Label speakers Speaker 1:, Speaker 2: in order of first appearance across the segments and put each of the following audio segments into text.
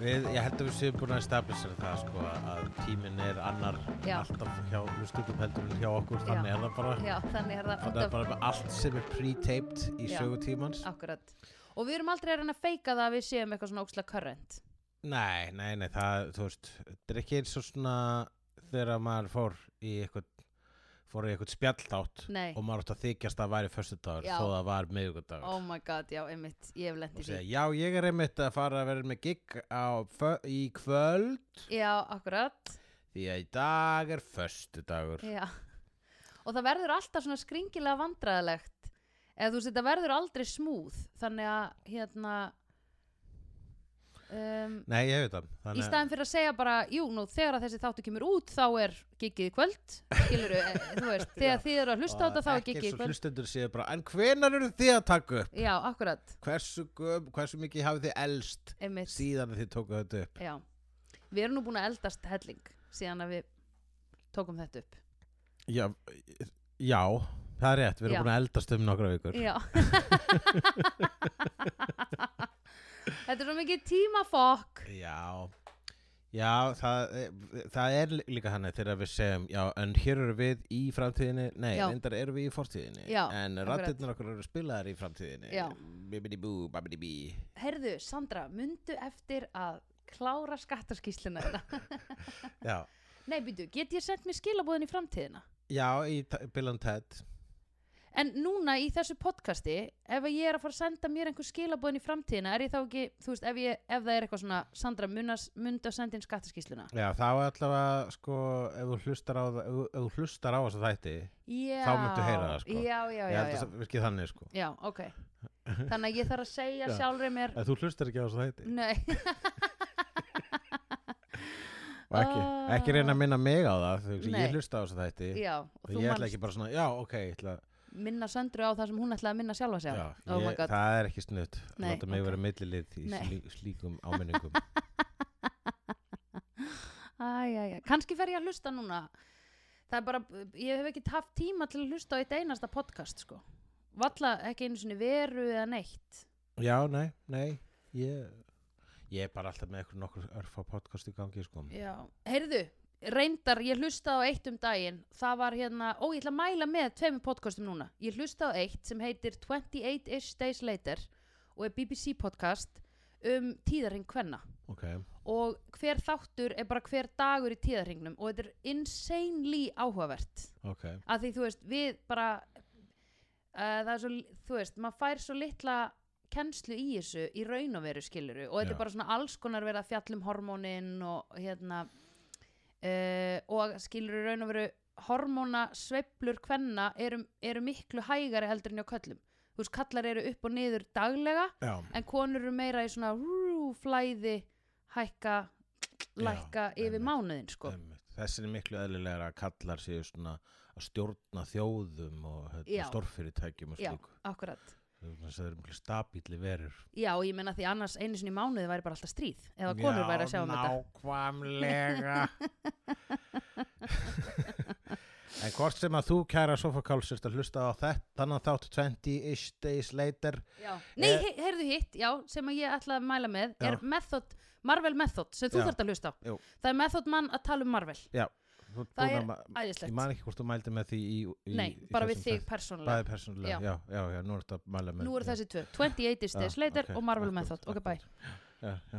Speaker 1: Við, ég held að við séum búin að establishera það sko að tíminn er annar
Speaker 2: Já.
Speaker 1: alltaf hjá hlustutum heldur en hjá okkur,
Speaker 2: Já.
Speaker 1: þannig er það bara
Speaker 2: Já, þannig er það
Speaker 1: þannig er bara allt sem er pre-taped í
Speaker 2: Já.
Speaker 1: sögutímans
Speaker 2: Akkurat. Og við erum aldrei að reyna að feika það að við séum eitthvað svona óksla current.
Speaker 1: Nei, nei, nei, það, þú veist þetta er ekki eins og svona þegar maður fór í eitthvað fór í eitthvað spjalltátt
Speaker 2: Nei.
Speaker 1: og maður átt að þykjast að það væri föstudagur
Speaker 2: Já.
Speaker 1: þó það var miðvikudagur
Speaker 2: Oh my god, já, einmitt, ég hef lent í
Speaker 1: og
Speaker 2: því.
Speaker 1: segja, já, ég er einmitt að fara að vera með gig á, fö- í kvöld
Speaker 2: Já, akkurat.
Speaker 1: því að í dag er föstudagur
Speaker 2: Já. Og það verður alltaf svona skringilega vandræðilegt. Eða þú veist, þetta verður aldrei smúð. Þannig að, hérna, um,
Speaker 1: Nei, ég veit það
Speaker 2: í staðin fyrir að segja bara, jú, nú, þegar að þessi þáttu kemur út, þá er gigið í kvöld. Skilur þú veist, þegar þið eru að hlusta á þetta, þá er
Speaker 1: ekki
Speaker 2: gigið í
Speaker 1: eins og
Speaker 2: kvöld.
Speaker 1: hlustendur séu bara en hvenar eru þið að taka upp
Speaker 2: Já, akkurat,
Speaker 1: hversu, göm, hversu mikið hafið þið elst
Speaker 2: einmitt.
Speaker 1: síðan að þið tókuð þetta upp
Speaker 2: Já, við erum nú búin að eldast helling síðan að við tókum þetta upp.
Speaker 1: já, já það er rétt, við erum
Speaker 2: Já.
Speaker 1: búin að eldast um nokkra vikur
Speaker 2: Já. þetta er svo mikið tímafokk.
Speaker 1: já Já, það, það er lí- líka þannig þegar við segjum, já, en hér eru við í framtíðinni, nei,
Speaker 2: Já.
Speaker 1: reyndar eru við í fortíðinni,
Speaker 2: Já,
Speaker 1: en
Speaker 2: akkurat.
Speaker 1: rattirnar okkur eru spilaðar í framtíðinni,
Speaker 2: Já.
Speaker 1: bibidi bú, babidi bí.
Speaker 2: Herðu, Sandra, mundu eftir að klára skattarskísluna þetta.
Speaker 1: Já,
Speaker 2: Nei, býtu, get ég sendt mér skilabóðin í framtíðina?
Speaker 1: já, í ta- Bill and Ted,
Speaker 2: En núna í þessu podcasti, ef að ég er að fara að senda mér einhver skilabóðin í framtíðina, er ég þá ekki, þú veist, ef, ég, ef það er eitthvað svona, Sandra, munas, mundu að senda inn skattarskísluna?
Speaker 1: Já, þá er allavega, sko, ef þú hlustar á, það- ef, þú- ef þú hlustar á þessa þætti,
Speaker 2: Já.
Speaker 1: muntu heyra það, sko.
Speaker 2: Já, já, já.
Speaker 1: ég held að
Speaker 2: já.
Speaker 1: það virkið þannig, sko.
Speaker 2: Já, ok. Þannig að ég þarf að segja
Speaker 1: Já.
Speaker 2: sjálfri mér
Speaker 1: Ef þú hlustar ekki á þessa þætti,
Speaker 2: Nei,
Speaker 1: og ekki, ekki reyna að minna mig á það, þú veist,
Speaker 2: Nei.
Speaker 1: ég hlusta á þessa þætti,
Speaker 2: já og
Speaker 1: og
Speaker 2: Þú
Speaker 1: ég
Speaker 2: manst
Speaker 1: ætla ekki bara svona, já, ok, ég ætla,
Speaker 2: minna söndru á það sem hún ætlaði að minna sjálfa sig
Speaker 1: já,
Speaker 2: á Oh my
Speaker 1: ég,
Speaker 2: god,
Speaker 1: það er ekki snudd,
Speaker 2: Nei,
Speaker 1: láta mig
Speaker 2: ok.
Speaker 1: vera millilið í
Speaker 2: Nei.
Speaker 1: slí, slíkum áminningum.
Speaker 2: æjæjæ Kanski fer ég að hlusta núna Það er bara, ég hef ekki haft tíma til að hlusta á eitt einasta podcast sko Valla ekki einu sinni veru eða neitt
Speaker 1: já, nei, nei, ég, ég er bara alltaf með eitthvað nokkur örfa podcast í gangi, sko.
Speaker 2: Já, heyrðu Reyndar, ég hlustaði á eitt um daginn Það var hérna, ó ég ætla að mæla með tveimur podcastum núna Ég hlustaði á eitt sem heitir 28-ish days later og er BBC podcast um tíðarinn kvenna
Speaker 1: Ok,
Speaker 2: og hver þáttur er bara hver dagur í tíðarhingnum og þetta er insanely áhugavert
Speaker 1: ok,
Speaker 2: að því þú veist við bara uh, það er svo, þú veist, maður fær svo litla kennslu í þessu í raun og veru skiluru og þetta
Speaker 1: Já.
Speaker 2: er bara svona alls konar verið að fjalla um hormónin og hérna uh, og skiluru raun og veru hormóna sveiflur kvenna eru, eru miklu hægari heldur en hjá köllum þú veist, kallar eru upp og niður daglega
Speaker 1: já,
Speaker 2: en konur eru meira í svona rú, flæði, hækka lækka yfir
Speaker 1: einmitt,
Speaker 2: mánuðin sko.
Speaker 1: Einmitt. Þessin er miklu eðlilega að kallar séu svona að stjórna þjóðum og hérna,
Speaker 2: Já.
Speaker 1: stórfyrirtækjum og
Speaker 2: Já.
Speaker 1: slíku.
Speaker 2: akkurat
Speaker 1: Þess að þeir eru miklu stabíli verur.
Speaker 2: já, og ég menna því annars einu sinni í mánuði væri bara alltaf stríð ef að konur væri að sjá um þetta
Speaker 1: Nákvæmlega. en hvort sem að þú kæra sofakáls ert að hlusta á þetta, þannig að þátt 20-ish days later.
Speaker 2: já. nei,
Speaker 1: Eh,
Speaker 2: he heyrðu hitt, já, sem að ég ætlaði að mæla með
Speaker 1: Já.
Speaker 2: er method, Marvel Method sem þú
Speaker 1: Já.
Speaker 2: þarft að hlusta á,
Speaker 1: Jú.
Speaker 2: það er Method Man að tala um Marvel
Speaker 1: Já, þú ert
Speaker 2: það
Speaker 1: búin
Speaker 2: er
Speaker 1: að ma- Ég
Speaker 2: æðislegt,
Speaker 1: man ekki hvort þú mældi með því í... í
Speaker 2: nei,
Speaker 1: í
Speaker 2: bara við
Speaker 1: þessum
Speaker 2: þig
Speaker 1: þætti.
Speaker 2: persónulega
Speaker 1: Bæði persónulega,
Speaker 2: Já.
Speaker 1: já, já, já, nú er þetta að mæla með.
Speaker 2: nú eru
Speaker 1: já.
Speaker 2: þessi tvö, 28
Speaker 1: Já,
Speaker 2: Days Later
Speaker 1: ok,
Speaker 2: og Marvel
Speaker 1: akkurat,
Speaker 2: Method, ok bye
Speaker 1: akkurat. Já, já.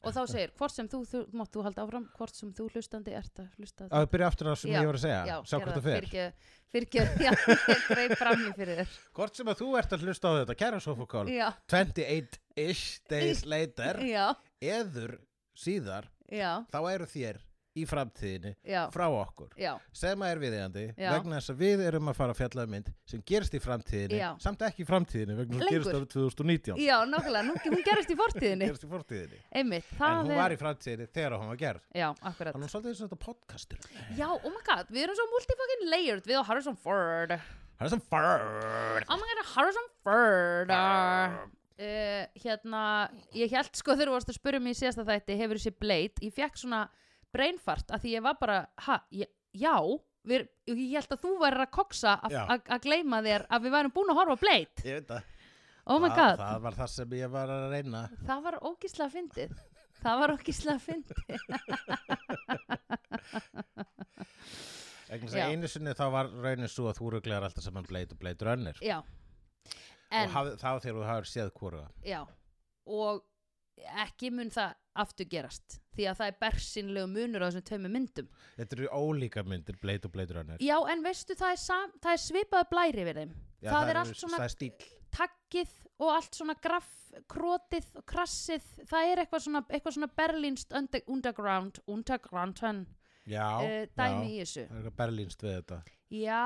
Speaker 2: og þá segir, hvort sem þú, þú mátt þú halda áfram hvort sem þú hlustandi ert að hlusta
Speaker 1: að byrja aftur á sem
Speaker 2: Já,
Speaker 1: ég var að segja sjá
Speaker 2: gerðu
Speaker 1: hvort það fer
Speaker 2: fyrirgefðu- fyrirgefðu, já, ég greið fram í fyrir þér
Speaker 1: hvort sem að þú ert að hlusta á þetta kæra sofakál
Speaker 2: já,
Speaker 1: 28-ish days later
Speaker 2: já,
Speaker 1: eður síðar
Speaker 2: já,
Speaker 1: þá eru þér í framtíðinni
Speaker 2: já,
Speaker 1: frá okkur
Speaker 2: já
Speaker 1: sem að er viðeigandi
Speaker 2: Já.
Speaker 1: vegna þess að við erum að fara að fjalla um mynd sem gerist í framtíðinni
Speaker 2: Já.
Speaker 1: samt ekki í framtíðinni vegna þess að
Speaker 2: Lengur.
Speaker 1: gerist árið 2019
Speaker 2: já, nákvæmlega, nú, hún gerist í fortíðinni
Speaker 1: gerist í framtíðinni
Speaker 2: einmitt,
Speaker 1: en
Speaker 2: það
Speaker 1: hún var
Speaker 2: er
Speaker 1: í framtíðinni þegar hún var gerð
Speaker 2: já, akkurat
Speaker 1: þannig er svolítið eins og þetta podcastur
Speaker 2: já, oh my god, við erum svo multifucking layered við á Harrison Ford
Speaker 1: það er sem farrrr
Speaker 2: oh my god, Harrison Ford uh, hérna, ég held sko þegar þú varst að spyrja mig í síðasta þætti hefur þessi Blade, ég fekk svona brainfart að því ég var bara, ha, ég, já Við, ég held að þú værir að koksa að-
Speaker 1: Já.
Speaker 2: að að gleyma þér að við værum búin að horfa á Blade
Speaker 1: ég veit það
Speaker 2: oh my
Speaker 1: það,
Speaker 2: god, það,
Speaker 1: það var það sem ég var að reyna
Speaker 2: var ógíslega fyndið það var ógíslega fyndið
Speaker 1: Vegna þess
Speaker 2: Já.
Speaker 1: að einu sinni þá var raunin svo að þú ruglegar alltaf saman blade og blade runner
Speaker 2: já,
Speaker 1: og
Speaker 2: en
Speaker 1: haf, þá þegar þú hafur séð hvora
Speaker 2: já og ekki mun það aftur gerast því að það er bersinlegu munur á þessum tveimur myndum
Speaker 1: þetta eru ólíka myndir blade og blade runner
Speaker 2: já, en veistu, það er, sam, það er svipaðu blæri við þeim
Speaker 1: Já,
Speaker 2: það, er
Speaker 1: eru-
Speaker 2: allt svona
Speaker 1: það er stíl
Speaker 2: takkið og allt svona graff, krótið og krassið, það er eitthvað svona, eitthvað svona berlínst under, underground underground hann
Speaker 1: já,
Speaker 2: uh, dæmi í þessu
Speaker 1: já, það er eitthvað berlínst við þetta
Speaker 2: já,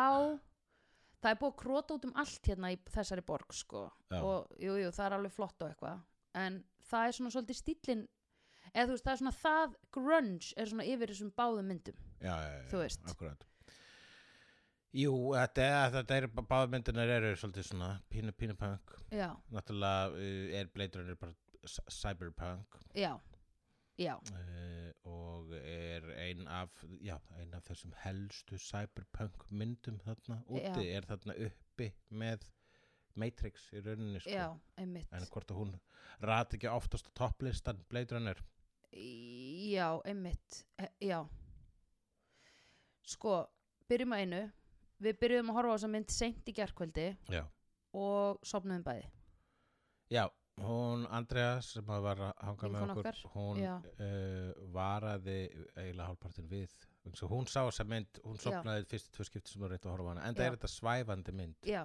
Speaker 2: það er búið að króta út um allt hérna í þessari borg sko.
Speaker 1: Já.
Speaker 2: og jú, jú, það er alveg flott og eitthvað en það er svona svolítið stíllinn eða þú veist, það er svona það grunge er svona yfir þessum báðum myndum
Speaker 1: já, já, já,
Speaker 2: Þú veist.
Speaker 1: akkurat. Jú, þetta, þetta eru báðmyndunar eru svolítið svona pínu, pínu punk
Speaker 2: já,
Speaker 1: náttúrulega uh, er Blade Runner bara c- cyberpunk
Speaker 2: já, já
Speaker 1: uh, og er ein af, já, ein af þessum helstu cyberpunk myndum þarna úti, er þarna uppi með Matrix í rauninni sko.
Speaker 2: Já, einmitt
Speaker 1: en hvort að hún rati ekki oftast á topplistan Blade Runner
Speaker 2: Í- Já, einmitt e- Já Sko, byrjum að einu Við byrjum að horfa á þess að mynd seint í gerkvöldi
Speaker 1: Já.
Speaker 2: og sopnuðum bæði
Speaker 1: Já, hún Andrea sem að var að hanga
Speaker 2: Vinkona
Speaker 1: með okkur,
Speaker 2: okkar,
Speaker 1: hún
Speaker 2: já.
Speaker 1: uh, varaði eiginlega hálfpartin við Svo hún sá þessa mynd, hún
Speaker 2: Já.
Speaker 1: sopnaði fyrst tvö skipti sem var rétt að horfa á hana en það
Speaker 2: Já.
Speaker 1: er þetta svæfandi mynd
Speaker 2: Já,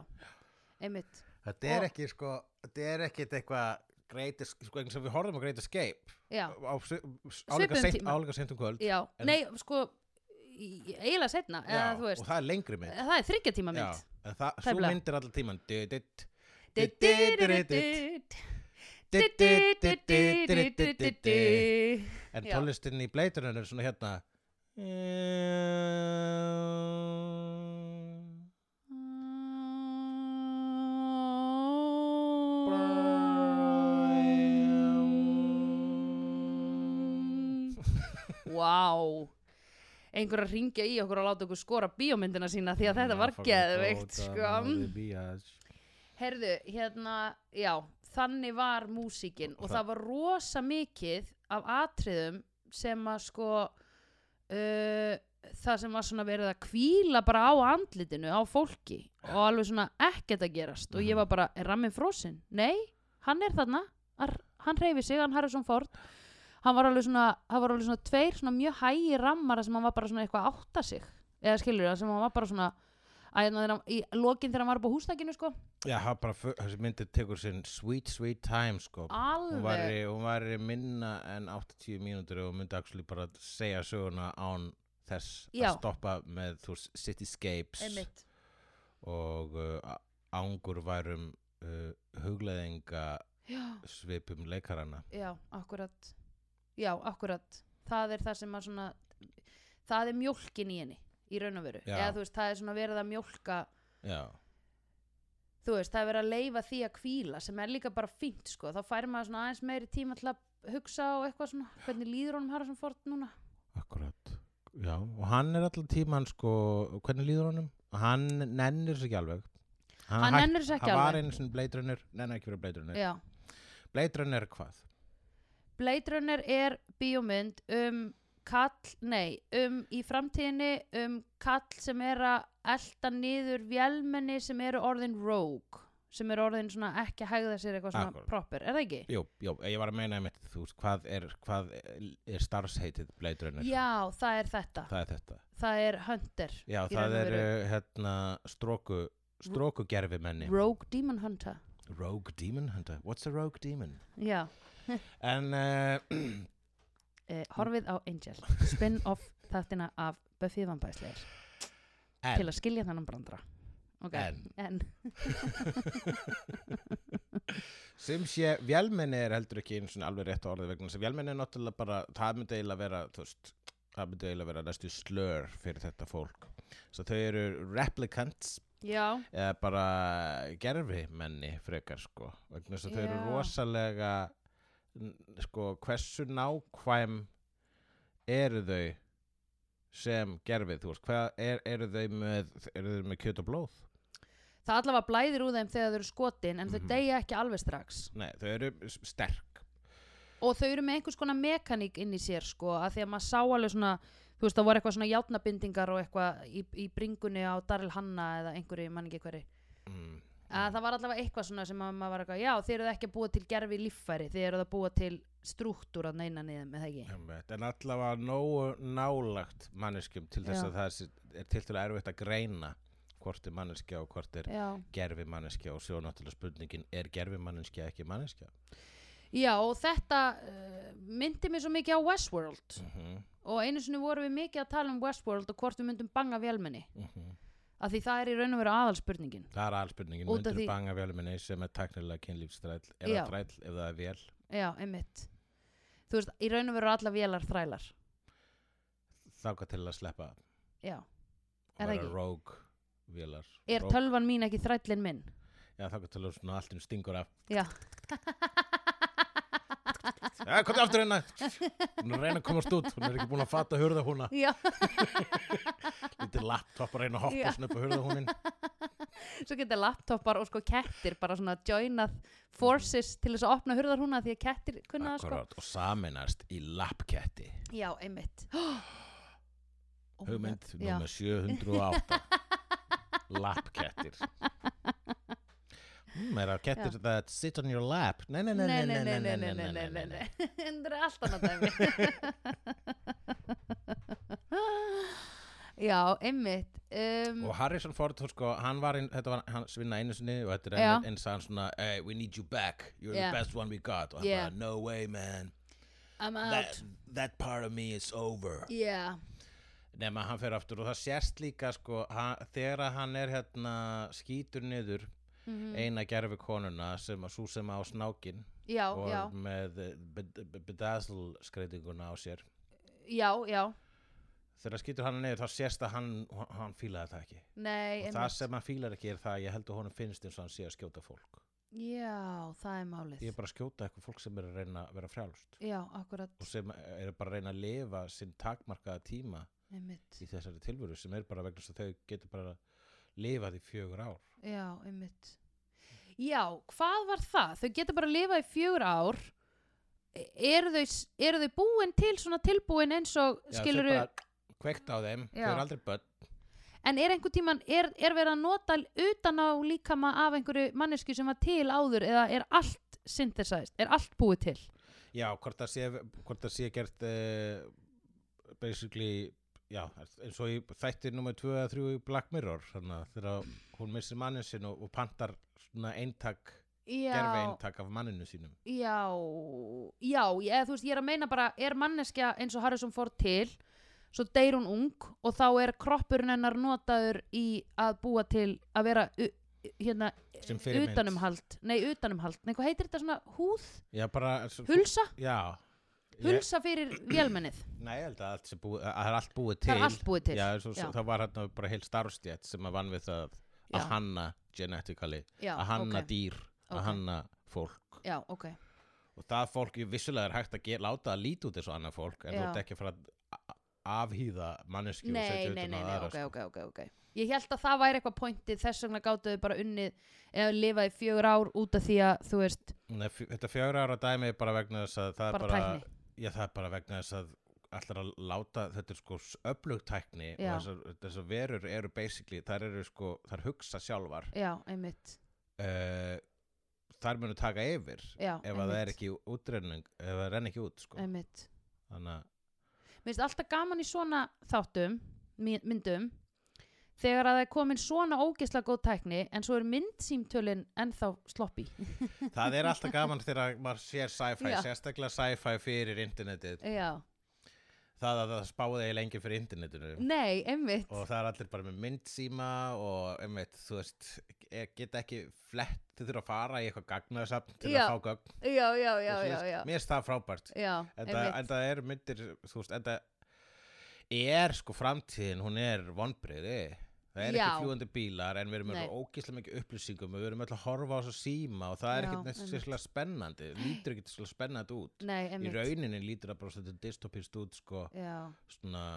Speaker 2: einmitt
Speaker 1: Þetta er
Speaker 2: Og-
Speaker 1: ekki sko, þetta er ekki eitthvað great, es- sko eins og við horfum á Great Escape
Speaker 2: Já,
Speaker 1: á svi-
Speaker 2: Svipuðum
Speaker 1: álíka seint-
Speaker 2: tíma.
Speaker 1: álíka seint um kvöld
Speaker 2: já,
Speaker 1: En-
Speaker 2: nei, sko í- í- eiginlega setna, eða þú
Speaker 1: og
Speaker 2: veist
Speaker 1: það er lengri mynd
Speaker 2: Það er þryggja tíma
Speaker 1: Já,
Speaker 2: mynd
Speaker 1: en það, svo
Speaker 2: Tæplega.
Speaker 1: mynd er allan tíman En
Speaker 2: Já.
Speaker 1: tónlistin í bleiturinn er svona hérna
Speaker 2: Vá Einhver að ringja í okkur og láta okkur skora bíómyndina sína því að þetta var geðveikt sko Herðu, hérna, já, þannig var músíkin og,
Speaker 1: Og
Speaker 2: það var rosa mikið af atriðum sem að sko uh, það sem var svona verið að kvíla bara á andlitinu á fólki og alveg svona ekkert að gerast og ég var bara, er ramminn frosinn? Nei, hann er þarna, Ar- hann reyfi sig, hann Harrison Ford hann var alveg svona, hann var alveg svona tveir svona mjög hægi rammara sem hann var bara svona eitthvað að átta sig, eða skilur það sem hann var bara svona að hérna þegar hann, í lokin þegar hann var upp á húsnækinu sko
Speaker 1: Já, það er bara, fu- þessi myndi tekur sinn sweet, sweet time, sko Hún var,
Speaker 2: Alveg,
Speaker 1: hún var minna en 80 mínútur og myndi actually bara segja söguna án þess
Speaker 2: Já.
Speaker 1: að stoppa með þú veist, cityscapes
Speaker 2: einmitt
Speaker 1: og uh, ángur værum uh, hugleðinga
Speaker 2: Já,
Speaker 1: svipum leikarana
Speaker 2: já, akkurat Já, akkurat Það er það sem að svona Það er mjólkin í henni, í raun og veru
Speaker 1: Já.
Speaker 2: Eða þú veist, það er svona verið að mjólka
Speaker 1: Já,
Speaker 2: Þú veist, það er verið að leifa því að hvíla sem er líka bara fínt, sko Þá fær maður svona aðeins meiri tíma til að hugsa og eitthvað svona, hvernig líður honum Harrison Ford núna
Speaker 1: akkurat Já, og hann er alltaf tíman sko, hvernig líður honum? Hann nennir sér ekki alveg Hann,
Speaker 2: Hann
Speaker 1: hætt-
Speaker 2: nennir þessu ekki
Speaker 1: Hann var
Speaker 2: alveg.
Speaker 1: einu sinni Blade Runner, nennar ekki verið Blade Runner
Speaker 2: Já,
Speaker 1: Blade Runner hvað?
Speaker 2: Blade Runner er bíómynd um kall, nei, um í framtíðinni um kall sem er að elta niður vélmenni sem eru orðin rogue sem eru orðin svona ekki að hegða sér eitthvað svona
Speaker 1: Akkúrat.
Speaker 2: proper, er það ekki?
Speaker 1: Jú, jú, ég var að meina einmitt, þú veist, hvað er, hvað er starfsheitið Blade Runner?
Speaker 2: Já, það er þetta, það,
Speaker 1: Það er þetta
Speaker 2: er Hunter,
Speaker 1: Já,
Speaker 2: Í raun
Speaker 1: það
Speaker 2: og
Speaker 1: er
Speaker 2: veru.
Speaker 1: uh, hérna stróku, strókugerfi menni
Speaker 2: rogue demon hunter
Speaker 1: Rogue Demon Hunter, what's a Rogue Demon?
Speaker 2: Já,
Speaker 1: En uh,
Speaker 2: eh, horfið á Angel spin-off þáttina af Buffy Vampæsleir til
Speaker 1: en,
Speaker 2: að skilja þannan brandra Ok,
Speaker 1: En.
Speaker 2: en
Speaker 1: sem sé, vélmenni er heldur ekki einu svona alveg rétt orðið vegna þess að vélmenni er náttúrulega bara, það myndi eiginlega vera, þú veist, það myndi eiginlega vera næstu slör fyrir þetta fólk. Svo þau eru replicants
Speaker 2: Já,
Speaker 1: eða bara gerfi menni frekar sko vegna þess að þau eru
Speaker 2: Já.
Speaker 1: rosalega n- sko hversu nákvæm eru þau sem gerfið þú veist hvað er, eru þau með eru þau með kjöt og blóð
Speaker 2: það allavega blæðir úr þeim þegar þau eru skotin en þau
Speaker 1: Mhm.
Speaker 2: deyja ekki alveg strax
Speaker 1: Nei, þau eru s- sterk
Speaker 2: og þau eru með einhvers konar mekaník inn í sér sko, að því að maður sá alveg svona þú veist, það voru eitthvað svona játnabindingar og eitthvað í, í bringunni á Daril Hanna eða einhverju, ég man ekki hverju
Speaker 1: mm.
Speaker 2: að það var allavega eitthvað svona sem að maður var eitthvað já, þið eruð ekki að búa til gerfi líffæri þið eruð að búa til strúktúr að neina niður með það ekki
Speaker 1: einmitt. En allavega nógu nálagt manneskjum til þess
Speaker 2: Já.
Speaker 1: að það sé- er til til að erfitt að greina hvort er manneskja og hvort er
Speaker 2: já.
Speaker 1: gerfi manneskja og svo er náttúrulega spurningin er gerfi manneskja ekki manneskja?
Speaker 2: já, og þetta uh, myndi mér svo mikið á Westworld
Speaker 1: Mm -hmm.
Speaker 2: og einu sinni vorum við mikið að tala um Westworld og hvort við myndum banga vélmenni af því það er í raun og veru aðalspurningin
Speaker 1: Það er aðalspurningin,
Speaker 2: Út af
Speaker 1: myndur
Speaker 2: því-
Speaker 1: banga velminni sem er taknilega kynlífstræll
Speaker 2: Já.
Speaker 1: eða træll ef það er vel
Speaker 2: já, einmitt þú veist, í raun og veru alla vélar þrælar
Speaker 1: þáka til að sleppa
Speaker 2: já
Speaker 1: og
Speaker 2: Er það
Speaker 1: vera
Speaker 2: ekki?
Speaker 1: rogue vélar
Speaker 2: er
Speaker 1: Rogue-
Speaker 2: tölvan mín ekki þrællin minn
Speaker 1: Já, þáka til að svona allt um stingur af
Speaker 2: já,
Speaker 1: Já, komðu aftur hérna Hún er að reyna að komast út, hún er ekki búin að fatta hurða húna
Speaker 2: já.
Speaker 1: Lítið laptop að reyna að hoppa
Speaker 2: Já.
Speaker 1: svona upp á hurða húnin
Speaker 2: svo geta laptopar og sko kettir bara svona joinað forces til þess að opna hurðarhúna því að kettir kunna það sko
Speaker 1: Akkurát, og saminast í lapketti
Speaker 2: já, einmitt Oh Ó,
Speaker 1: Hugmynd
Speaker 2: Oh já.
Speaker 1: nummer 708 Lapkettir Hmm, er það kettir that sit on your lap? Nei, nei, nei,
Speaker 2: nei, nei, nei, nei, nei, nei, nei, nei, nei. það er allt annað dæmi já, einmitt um,
Speaker 1: Og Harrison Ford, þú sko, hann var inn, þetta var hans vinna einu sinni og þetta er
Speaker 2: Já.
Speaker 1: enn, enn sagði hann svona Hey, we need you back, you're
Speaker 2: Yeah.
Speaker 1: the best one we got og hann
Speaker 2: Yeah.
Speaker 1: bara, no way man
Speaker 2: I'm out
Speaker 1: that, that part of me is over
Speaker 2: yeah,
Speaker 1: nema hann fer aftur og það sérst líka sko, hann, þegar að hann er hérna skýtur niður
Speaker 2: Mhm. Mm.
Speaker 1: eina gerfi konuna sem að sú sem á snákin
Speaker 2: já,
Speaker 1: og
Speaker 2: já,
Speaker 1: með bedazzl skreitinguna á sér
Speaker 2: já, já
Speaker 1: þegar skýtur hann niður þá sérst að hann, hann fílaði það ekki
Speaker 2: nei,
Speaker 1: og það sem hann fílar ekki er það að ég held að honum finnst eins og hann sé að skjóta fólk
Speaker 2: já, það er málið
Speaker 1: ég er bara að skjóta eitthvað fólk sem er að reyna að vera frjálst
Speaker 2: já, akkurat,
Speaker 1: og sem er bara að reyna að lifa sinn takmarkaða tíma
Speaker 2: einmitt
Speaker 1: í þessari tilvöru sem er bara vegna þess að þau getur bara lifað í fjögur ár
Speaker 2: Já, einmitt. Já, hvað var það? Þau geta bara að lifa í fjögur ár. E- Eru þau, s- eru þau búin til svona tilbúin eins og
Speaker 1: Já,
Speaker 2: skilur
Speaker 1: þau bara kveikt á þeim, þau
Speaker 2: Já.
Speaker 1: eru aldrei börn
Speaker 2: En er einhver tíman, er, er verið að nota utan á líkama af einhverju mannesku sem var til áður eða er allt synthesized, er allt búið til?
Speaker 1: já, hvort það sé, hvort það sé gert uh, basically já, eins og í þættir nummer 2 eða 3 í Black Mirror þannig að þegar hún missir mannin sinn og, og pantar svona eintak gerfi
Speaker 2: Já,
Speaker 1: eintak af manninu sínum
Speaker 2: já, já, ég, eða þú veist, ég er að meina bara, er manneskja eins og Harrison Ford til, svo deyr hún ung og þá er kroppurinn hennar notaður í að búa til að vera u- hérna
Speaker 1: sem fyrirmynd
Speaker 2: utanumhald, nei utanumhald nei hvað heitir þetta svona húð,
Speaker 1: já, bara, s-
Speaker 2: hulsa
Speaker 1: já Ég-
Speaker 2: hulsa fyrir vélmennið
Speaker 1: Nei, ég held að allt sé búið, að það er allt búið til
Speaker 2: það er allt búið til
Speaker 1: Já, svo, svo,
Speaker 2: Já.
Speaker 1: það var hérna bara heil starfstjætt sem að vann við það
Speaker 2: Já.
Speaker 1: að hanna genetically,
Speaker 2: já,
Speaker 1: að hanna
Speaker 2: ok.
Speaker 1: dýr að
Speaker 2: Ok.
Speaker 1: hanna fólk
Speaker 2: já, ok,
Speaker 1: og það fólk ég vissulega er hægt að ge- láta að líti út eins og annað fólk en þú
Speaker 2: Já.
Speaker 1: ert ekki að fara að a- afhýða manneskju og
Speaker 2: nei, nei,
Speaker 1: setja utan
Speaker 2: nei,
Speaker 1: á
Speaker 2: nei
Speaker 1: aðra,
Speaker 2: ok,
Speaker 1: sko.
Speaker 2: ok, ok, ok ég held að það væri eitthvað pointið þess vegna gátuðu bara unnið eða lifaði fjögur ár út af því að þú veist,
Speaker 1: Nei, fjö- þetta fjögra ára dæmi er bara vegna þess að það
Speaker 2: Bara
Speaker 1: er bara,
Speaker 2: tækni.
Speaker 1: já, það er bara vegna þess að allar að láta, þetta er sko öflug tækni og
Speaker 2: Já.
Speaker 1: þessar, þessar verur eru basically, þær eru sko, þær hugsa sjálfar
Speaker 2: já, einmitt
Speaker 1: uh, þar munu taka yfir
Speaker 2: já,
Speaker 1: ef að það er ekki útrenning ef það renn ekki út sko.
Speaker 2: einmitt
Speaker 1: þannig að
Speaker 2: Mér finnst alltaf gaman í svona þáttum, my- myndum, þegar að það er komin svona ógisla góð tækni en svo er myndsýmtölin ennþá sloppy.
Speaker 1: það er alltaf gaman þegar maður sér sci-fi
Speaker 2: Já.
Speaker 1: sérstaklega sci-fi fyrir internetið
Speaker 2: Já.
Speaker 1: það að það spáði eiginlega lengi fyrir internetinu
Speaker 2: Nei, einmitt.
Speaker 1: og það er allir bara með myndsíma og einmitt, þú veist e- geta ekki flett, þau þurfa að fara í eitthvað gagnaðsafn til
Speaker 2: Já,
Speaker 1: að fá gögn og
Speaker 2: Já, já, já, já,
Speaker 1: svoleiðis.
Speaker 2: já.
Speaker 1: mér finnst það frábært
Speaker 2: Já,
Speaker 1: en það, en
Speaker 2: einmitt.
Speaker 1: það er myndir þú veist, en það er sko framtíðin, hún er vonbriði það er
Speaker 2: Já.
Speaker 1: ekki fljúandi bílar en við erum
Speaker 2: Nei.
Speaker 1: með ógíslega mikið upplýsingum við erum öll að horfa á svo síma og það er
Speaker 2: Já,
Speaker 1: ekkert neitt
Speaker 2: einmitt.
Speaker 1: sérslega spennandi lítur ekkert sérslega spennandi út
Speaker 2: Nei,
Speaker 1: í
Speaker 2: einmitt.
Speaker 1: rauninni lítur það bara svolítið dystopist út sko,
Speaker 2: Já,
Speaker 1: svona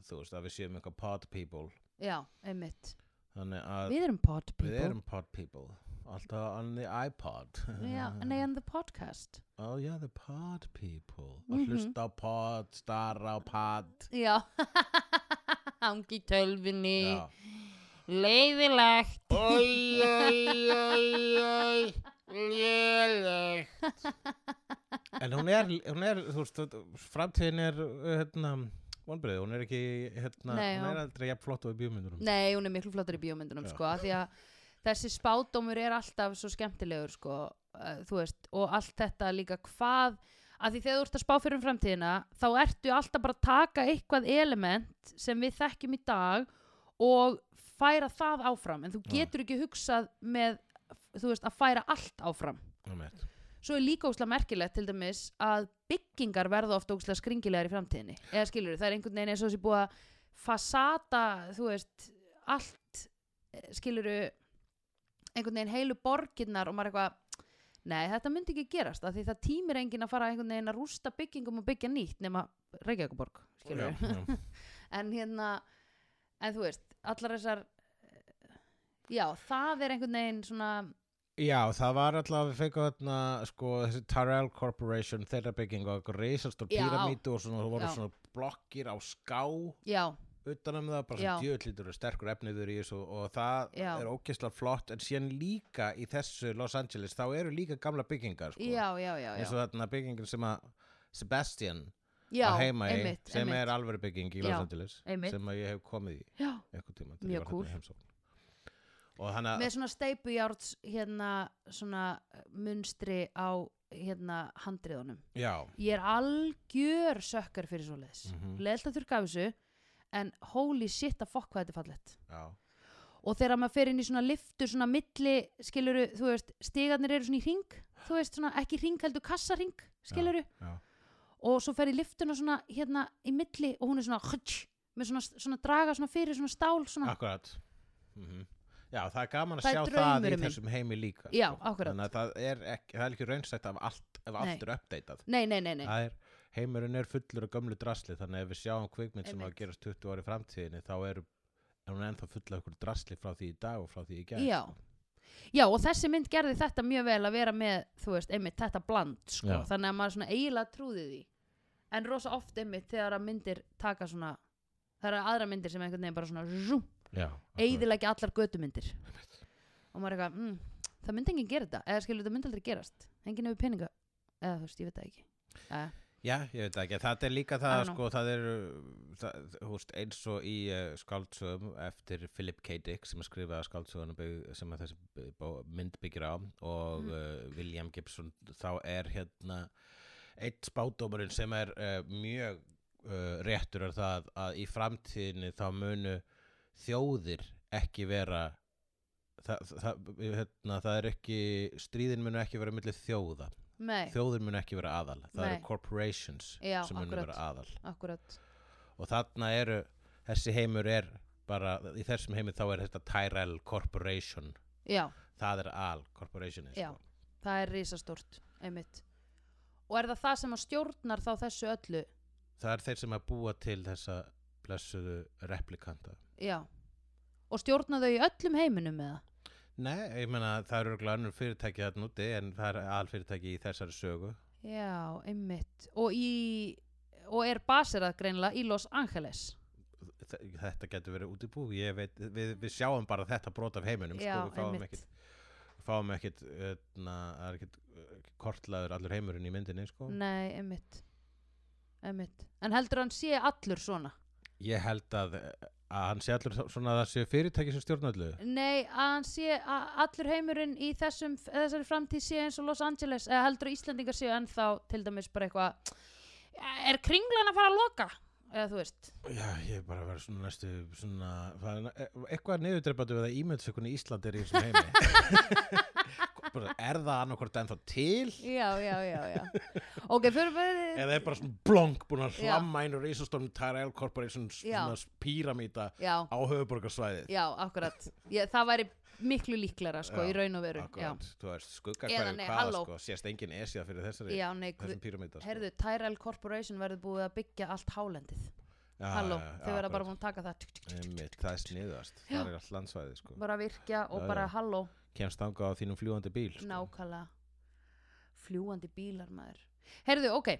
Speaker 1: þú veist að við séum eitthvað pod people
Speaker 2: já, einmitt.
Speaker 1: þannig að
Speaker 2: Við erum pod people
Speaker 1: við erum pod people alltaf on the iPod
Speaker 2: Já, nei, en the podcast
Speaker 1: oh yeah the pod people
Speaker 2: Mhm.
Speaker 1: að hlusta á pod, starra á pod
Speaker 2: Já Hangi tölvinni
Speaker 1: já
Speaker 2: Leiðilegt
Speaker 1: Oj, oj, oj, oj, lélegt. En hún er, hún er, þú veist, framtíðin er, uh, hérna, vonbreið, hún er ekki, hérna,
Speaker 2: Nei,
Speaker 1: hún
Speaker 2: já.
Speaker 1: er aldrei jafn flott og í bíómyndurum.
Speaker 2: Nei, hún er miklu flottar í bíómyndunum
Speaker 1: Já.
Speaker 2: sko, af því að þessi spádómur er alltaf svo skemmtilegur sko, uh, þú veist, og allt þetta líka hvað, af því þegar þú ert að spá fyrir um framtíðina, þá ertu alltaf bara að taka eitthvað element sem við þekkjum í dag og færa það áfram, en þú
Speaker 1: Já.
Speaker 2: getur ekki hugsað með, þú veist, að færa allt áfram.
Speaker 1: Nei.
Speaker 2: Svo er líka óslega merkilegt til dæmis að byggingar verða ofta óslega skringilegar í framtíðinni. Eða skilur, það er einhvern veginn eins og þessi búið að fasata, þú veist, allt, skilur, einhvern veginn heilu borginnar og maður eitthvað, nei, þetta myndi ekki gerast af því það tímir enginn að fara einhvern veginn að rústa byggingum og byggja nýtt nema Reykjavíkuborg, skilur.
Speaker 1: Já, já.
Speaker 2: En hérna, en þú veist, allar þessar, já, það er einhvern veginn svona,
Speaker 1: já, það var alltaf að við fengum þarna, sko, þessi Tyrell Corporation, þeirra bygging og eitthvað reisastór
Speaker 2: Já.
Speaker 1: píramítu og svona, það voru
Speaker 2: Já.
Speaker 1: svona blokkir á ská
Speaker 2: já,
Speaker 1: utanum það, bara svona
Speaker 2: Já.
Speaker 1: djöðlítur og sterkur efniður í þessu og það
Speaker 2: Já.
Speaker 1: er ógeðslega flott, en síðan líka í þessu Los Angeles, þá eru líka gamla byggingar, sko.
Speaker 2: já, já, já, já.
Speaker 1: eins og þarna byggingin sem að Sebastian
Speaker 2: já,
Speaker 1: á heima í
Speaker 2: einmitt,
Speaker 1: sem
Speaker 2: einmitt.
Speaker 1: er alveg bygging í
Speaker 2: Já,
Speaker 1: Los Angeles
Speaker 2: einmitt.
Speaker 1: sem að ég hef komið í
Speaker 2: Já,
Speaker 1: eitthvað tíma
Speaker 2: Mjög kúl.
Speaker 1: og hann að
Speaker 2: með svona steipujárts hérna svona eh, munstri á hérna handriðunum
Speaker 1: já,
Speaker 2: ég er algjör sökkar fyrir svo leiðis mm
Speaker 1: Mhm.
Speaker 2: -hmm. leiðilt að þurrka af þessu en holy shit að fokk hvað þetta er fallett
Speaker 1: já,
Speaker 2: og þegar maður fer inn í svona liftu svona milli skiluru, þú veist, stigarnir eru svona í ring þú veist, svona ekki ring heldur kassaring skiluru,
Speaker 1: já,
Speaker 2: og svo fer í liftuna svona hérna í milli og hún er svona með svona, svona draga svona fyrir svona stál svona,
Speaker 1: akkurat mm já, það er gaman að
Speaker 2: Hérna. Það er
Speaker 1: sjá það í
Speaker 2: draumurinn minn.
Speaker 1: þessum heimi líka
Speaker 2: Já,
Speaker 1: sko.
Speaker 2: akkurat.
Speaker 1: þannig að það er ekki, það er ekki raunsætt af allt, ef
Speaker 2: Nei.
Speaker 1: allt er uppdeitað
Speaker 2: nei, nei, nei, nei
Speaker 1: það er heimurinn er fullur af gömlu drasli þannig að ef við sjáum kvikmynd sem á að
Speaker 2: Einmitt.
Speaker 1: gerast 20 ári framtíðinni þá er, er hún ennþá full af ykkur drasli frá því í dag og frá því í gerð
Speaker 2: Já.
Speaker 1: sko.
Speaker 2: Já, og þessi mynd gerði þetta mjög vel að vera með, þú veist, einmitt þetta bland, sko,
Speaker 1: Já.
Speaker 2: þannig að maður svona eiginlega trúði því. En rosa oft einmitt þegar að myndir taka svona, það eru aðra myndir sem einhvern veginn bara svona rúm,
Speaker 1: Já, akkurat.
Speaker 2: eiginlega allar götumyndir. Og maður er eitthvað, mm, það myndi enginn gera þetta, eða skilur þetta myndi aldrei gerast, enginn hefur peninga, eða þú veist, ég veit það ekki. Eða,
Speaker 1: Já, ég veit það ekki, það er líka
Speaker 2: I
Speaker 1: það
Speaker 2: don't know.
Speaker 1: sko, það er það, húst, eins og í uh, skáldsögum eftir Philip K. Dick sem að skrifaði skáldsögunum bygg, sem að þessi by- bó- mynd byggir á og
Speaker 2: Mhm.
Speaker 1: uh, William Gibson þá er hérna eitt spátdómurinn sem er uh, mjög uh, réttur er það að í framtíðinni þá munu þjóðir ekki vera það, það, hérna, það er ekki stríðin munu ekki vera millir þjóða
Speaker 2: nei,
Speaker 1: þjóður mun ekki vera aðal það eru
Speaker 2: Nei.
Speaker 1: corporations
Speaker 2: Já,
Speaker 1: sem mun
Speaker 2: akkurat.
Speaker 1: vera aðal
Speaker 2: akkurat,
Speaker 1: og þarna eru, þessi heimur er bara, í þessum heimur þá er þetta Tyrell Corporation
Speaker 2: já.
Speaker 1: það er al corporation
Speaker 2: Já. það er risastort, einmitt. Og er það það sem að stjórnar þá þessu öllu?
Speaker 1: það er þeir sem að búa til þessa blessuðu replikanta
Speaker 2: Já. Og stjórna þau í öllum heiminum með það?
Speaker 1: Nei, ég meina það eru örugglega önnur fyrirtæki þarna úti en það er al fyrirtæki í þessari sögu
Speaker 2: Já, einmitt. Og, í, og er baserað greinlega í Los Angeles.
Speaker 1: Þ- þetta getur verið út í bú ég veit, við, við sjáum bara þetta brot af heiminum
Speaker 2: Já,
Speaker 1: sko, við fáum
Speaker 2: einmitt.
Speaker 1: ekkit fáum ekkit, öðna, ekkit kortlaður allur heimurinn í myndinni sko.
Speaker 2: Nei, einmitt. Einmitt. En heldur hann sé allur svona?
Speaker 1: ég held að, að hann sé allur svona að það sé fyrirtæki sem stjórnallu
Speaker 2: Nei, að hann sé að allur heimurinn í þessum, þessari framtíð sé eins og Los Angeles eða heldur að Íslendingar séu ennþá til dæmis bara eitthvað er kringlan að fara að loka? Eða þú veist,
Speaker 1: já, ég er bara að vera svona næstu svona, það er- e, eitthvað niðurdreipandi við að ímyndsökunni Ísland er í þessum heimi bara, er það annarkvort ennþá til
Speaker 2: já, já, já, já. ok, fyrir bara,
Speaker 1: eða er bara svona blonk búin að
Speaker 2: Já.
Speaker 1: hlamma einu reisastorm Tyrell Corporation svona píramíta
Speaker 2: já,
Speaker 1: á höfuborgarsvæðið
Speaker 2: Já, akkurat. Ég, það væri miklu líklara, sko,
Speaker 1: Já,
Speaker 2: í raun og veru.
Speaker 1: Akkurat, þú veist skugga
Speaker 2: Eða
Speaker 1: hverju
Speaker 2: nei,
Speaker 1: hvaða
Speaker 2: halló.
Speaker 1: sko, sést engin esja fyrir
Speaker 2: Já,
Speaker 1: þessari,
Speaker 2: já nei, guð,
Speaker 1: þessum píramíta sko.
Speaker 2: herðu, Tyrell Corporation verður búið að byggja allt hálendið.
Speaker 1: Já,
Speaker 2: halló,
Speaker 1: já, já,
Speaker 2: þau verða bara
Speaker 1: akkurat.
Speaker 2: búin að taka það tuk, tuk, tuk,
Speaker 1: Einmitt, það er sniðast, það er allt landsvæði sko.
Speaker 2: bara virkja og
Speaker 1: Já,
Speaker 2: bara
Speaker 1: já.
Speaker 2: halló,
Speaker 1: Kemst þangað á þínum fljúandi bíl sko.
Speaker 2: nákvæmlega fljúandi bílar maður heyrðu, ok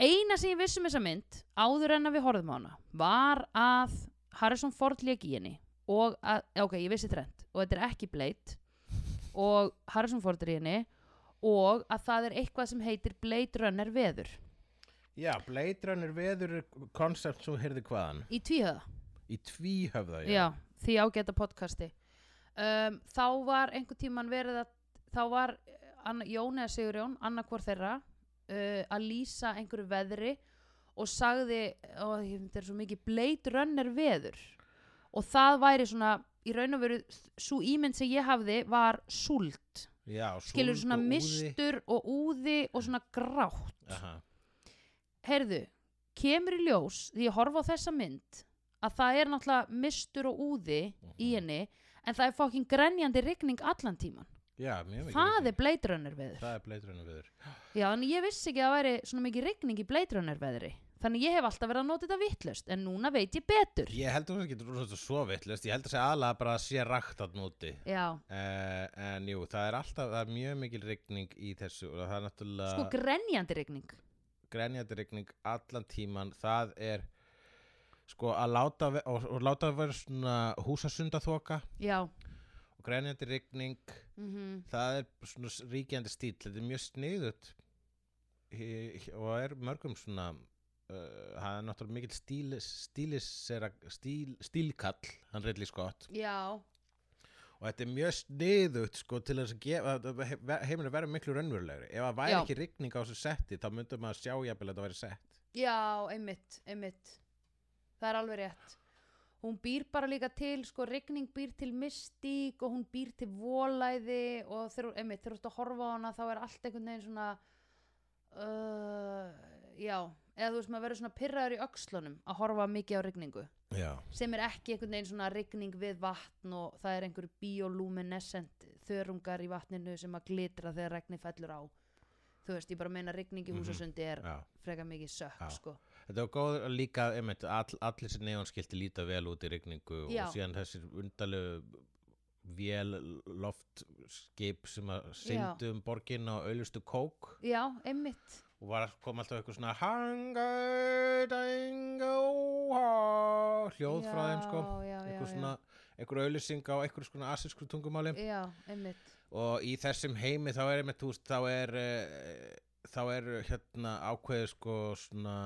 Speaker 2: eina sem ég vissi um þessa mynd áður en að við horfðum á hana var að Harrison Ford lék í henni og að, ok, ég vissi trend og þetta er ekki Blade og Harrison Ford er í henni og að það er eitthvað sem heitir Blade Runner veður
Speaker 1: Já, Blade Runner veður koncept svo heyrði hvaðan
Speaker 2: í tvíhöða
Speaker 1: Í tvíhöfða,
Speaker 2: já, því ágæta podcasti um, þá var einhver tíman verið að þá var eh, Anna, Jón eða Sigurjón annarkvor þeirra uh, að lýsa einhverju veðri og sagði ó, ég- þetta er svo mikið Blade Runner veður og það væri svona í raun og veru svo ímynd sem ég hafði var súld
Speaker 1: já
Speaker 2: skilur
Speaker 1: súld
Speaker 2: svona
Speaker 1: og úði.
Speaker 2: mistur og úði og svona grátt
Speaker 1: Aha.
Speaker 2: heyrðu, kemur í ljós því ég horfa á þessa mynd að það er náttúrulega mistur og úði
Speaker 1: Mhm.
Speaker 2: í henni en það er fókin grenjandi rigning allan tíman
Speaker 1: Já, mjög mikið
Speaker 2: það
Speaker 1: rigning.
Speaker 2: er Blade Runner veður
Speaker 1: Það er Blade Runner veður
Speaker 2: já, en ég vissi ekki að það væri svona mikið rigning í Blade Runner veðri þannig ég hef alltaf verið að nota þetta vittlust en núna veit ég betur
Speaker 1: Ég held að það getur rosa svo vittlust Ég held að segja aðlega bara að sé rakt að núti
Speaker 2: já,
Speaker 1: Uh, en jú, það er alltaf, það er mjög mikil rigning í þessu og það er náttúrulega
Speaker 2: sko grenjandi rigning
Speaker 1: grenjandi rigning allan tíman það er sko að láta ve- og, og láta að vera svona húsasundathoka
Speaker 2: já,
Speaker 1: og grenjandi rigning
Speaker 2: mm
Speaker 1: það er svona s- ríkjandi stíl þetta er mjög sniðut He- he- og er mörgum svona uh, hann er náttúrulega mikil stílis, stílis stíl, stílkall hann reyðli skott
Speaker 2: já
Speaker 1: og þetta er mjög sniðut sko, til þess að gefa að he- ver- heimurinn verður miklu raunverulegri ef það væri
Speaker 2: Já.
Speaker 1: ekki rigning á þessu setti þá myndum maður sjá jafnvel að það væri sett
Speaker 2: Já, einmitt, einmitt. Það er alveg rétt. Hún býr bara líka til, sko, rigning býr til mystík og hún býr til volæði og þegar, hún- einmitt, þegar þú ert að horfa á hana þá er allt einhvern veginn svona, uh, já, eða þú veist maður verður svona pyrraður í öxlunum að horfa mikið á rigningu
Speaker 1: já,
Speaker 2: sem er ekki einhvern veginn svona rigning við vatn og það er einhverju bioluminescent þörungar í vatninu sem að glitra þegar regni fellur á. Þú veist, ég bara meina rigning í
Speaker 1: Mhm.
Speaker 2: húsasundi er
Speaker 1: já.
Speaker 2: freka mikið sökk,
Speaker 1: Já.
Speaker 2: sko.
Speaker 1: þetta var góð líka einmitt, all, allir sér neonskilti líta vel út í rigningu
Speaker 2: Já.
Speaker 1: og síðan þessir undalegu vél loftskip sem að syndu um borgin á auðlustu kók
Speaker 2: Já, einmitt.
Speaker 1: og var, kom alltaf eitthvað svona hanga, dango, hljóð frá þeim sko
Speaker 2: Já, já, já,
Speaker 1: eitthvað svona, einhver auðlýsing á einhver svona asísku tungumáli
Speaker 2: já. Já, einmitt.
Speaker 1: og í þessum heimi þá er einmitt, þú veist, þá er eh, þá er hérna ákveðið sko svona,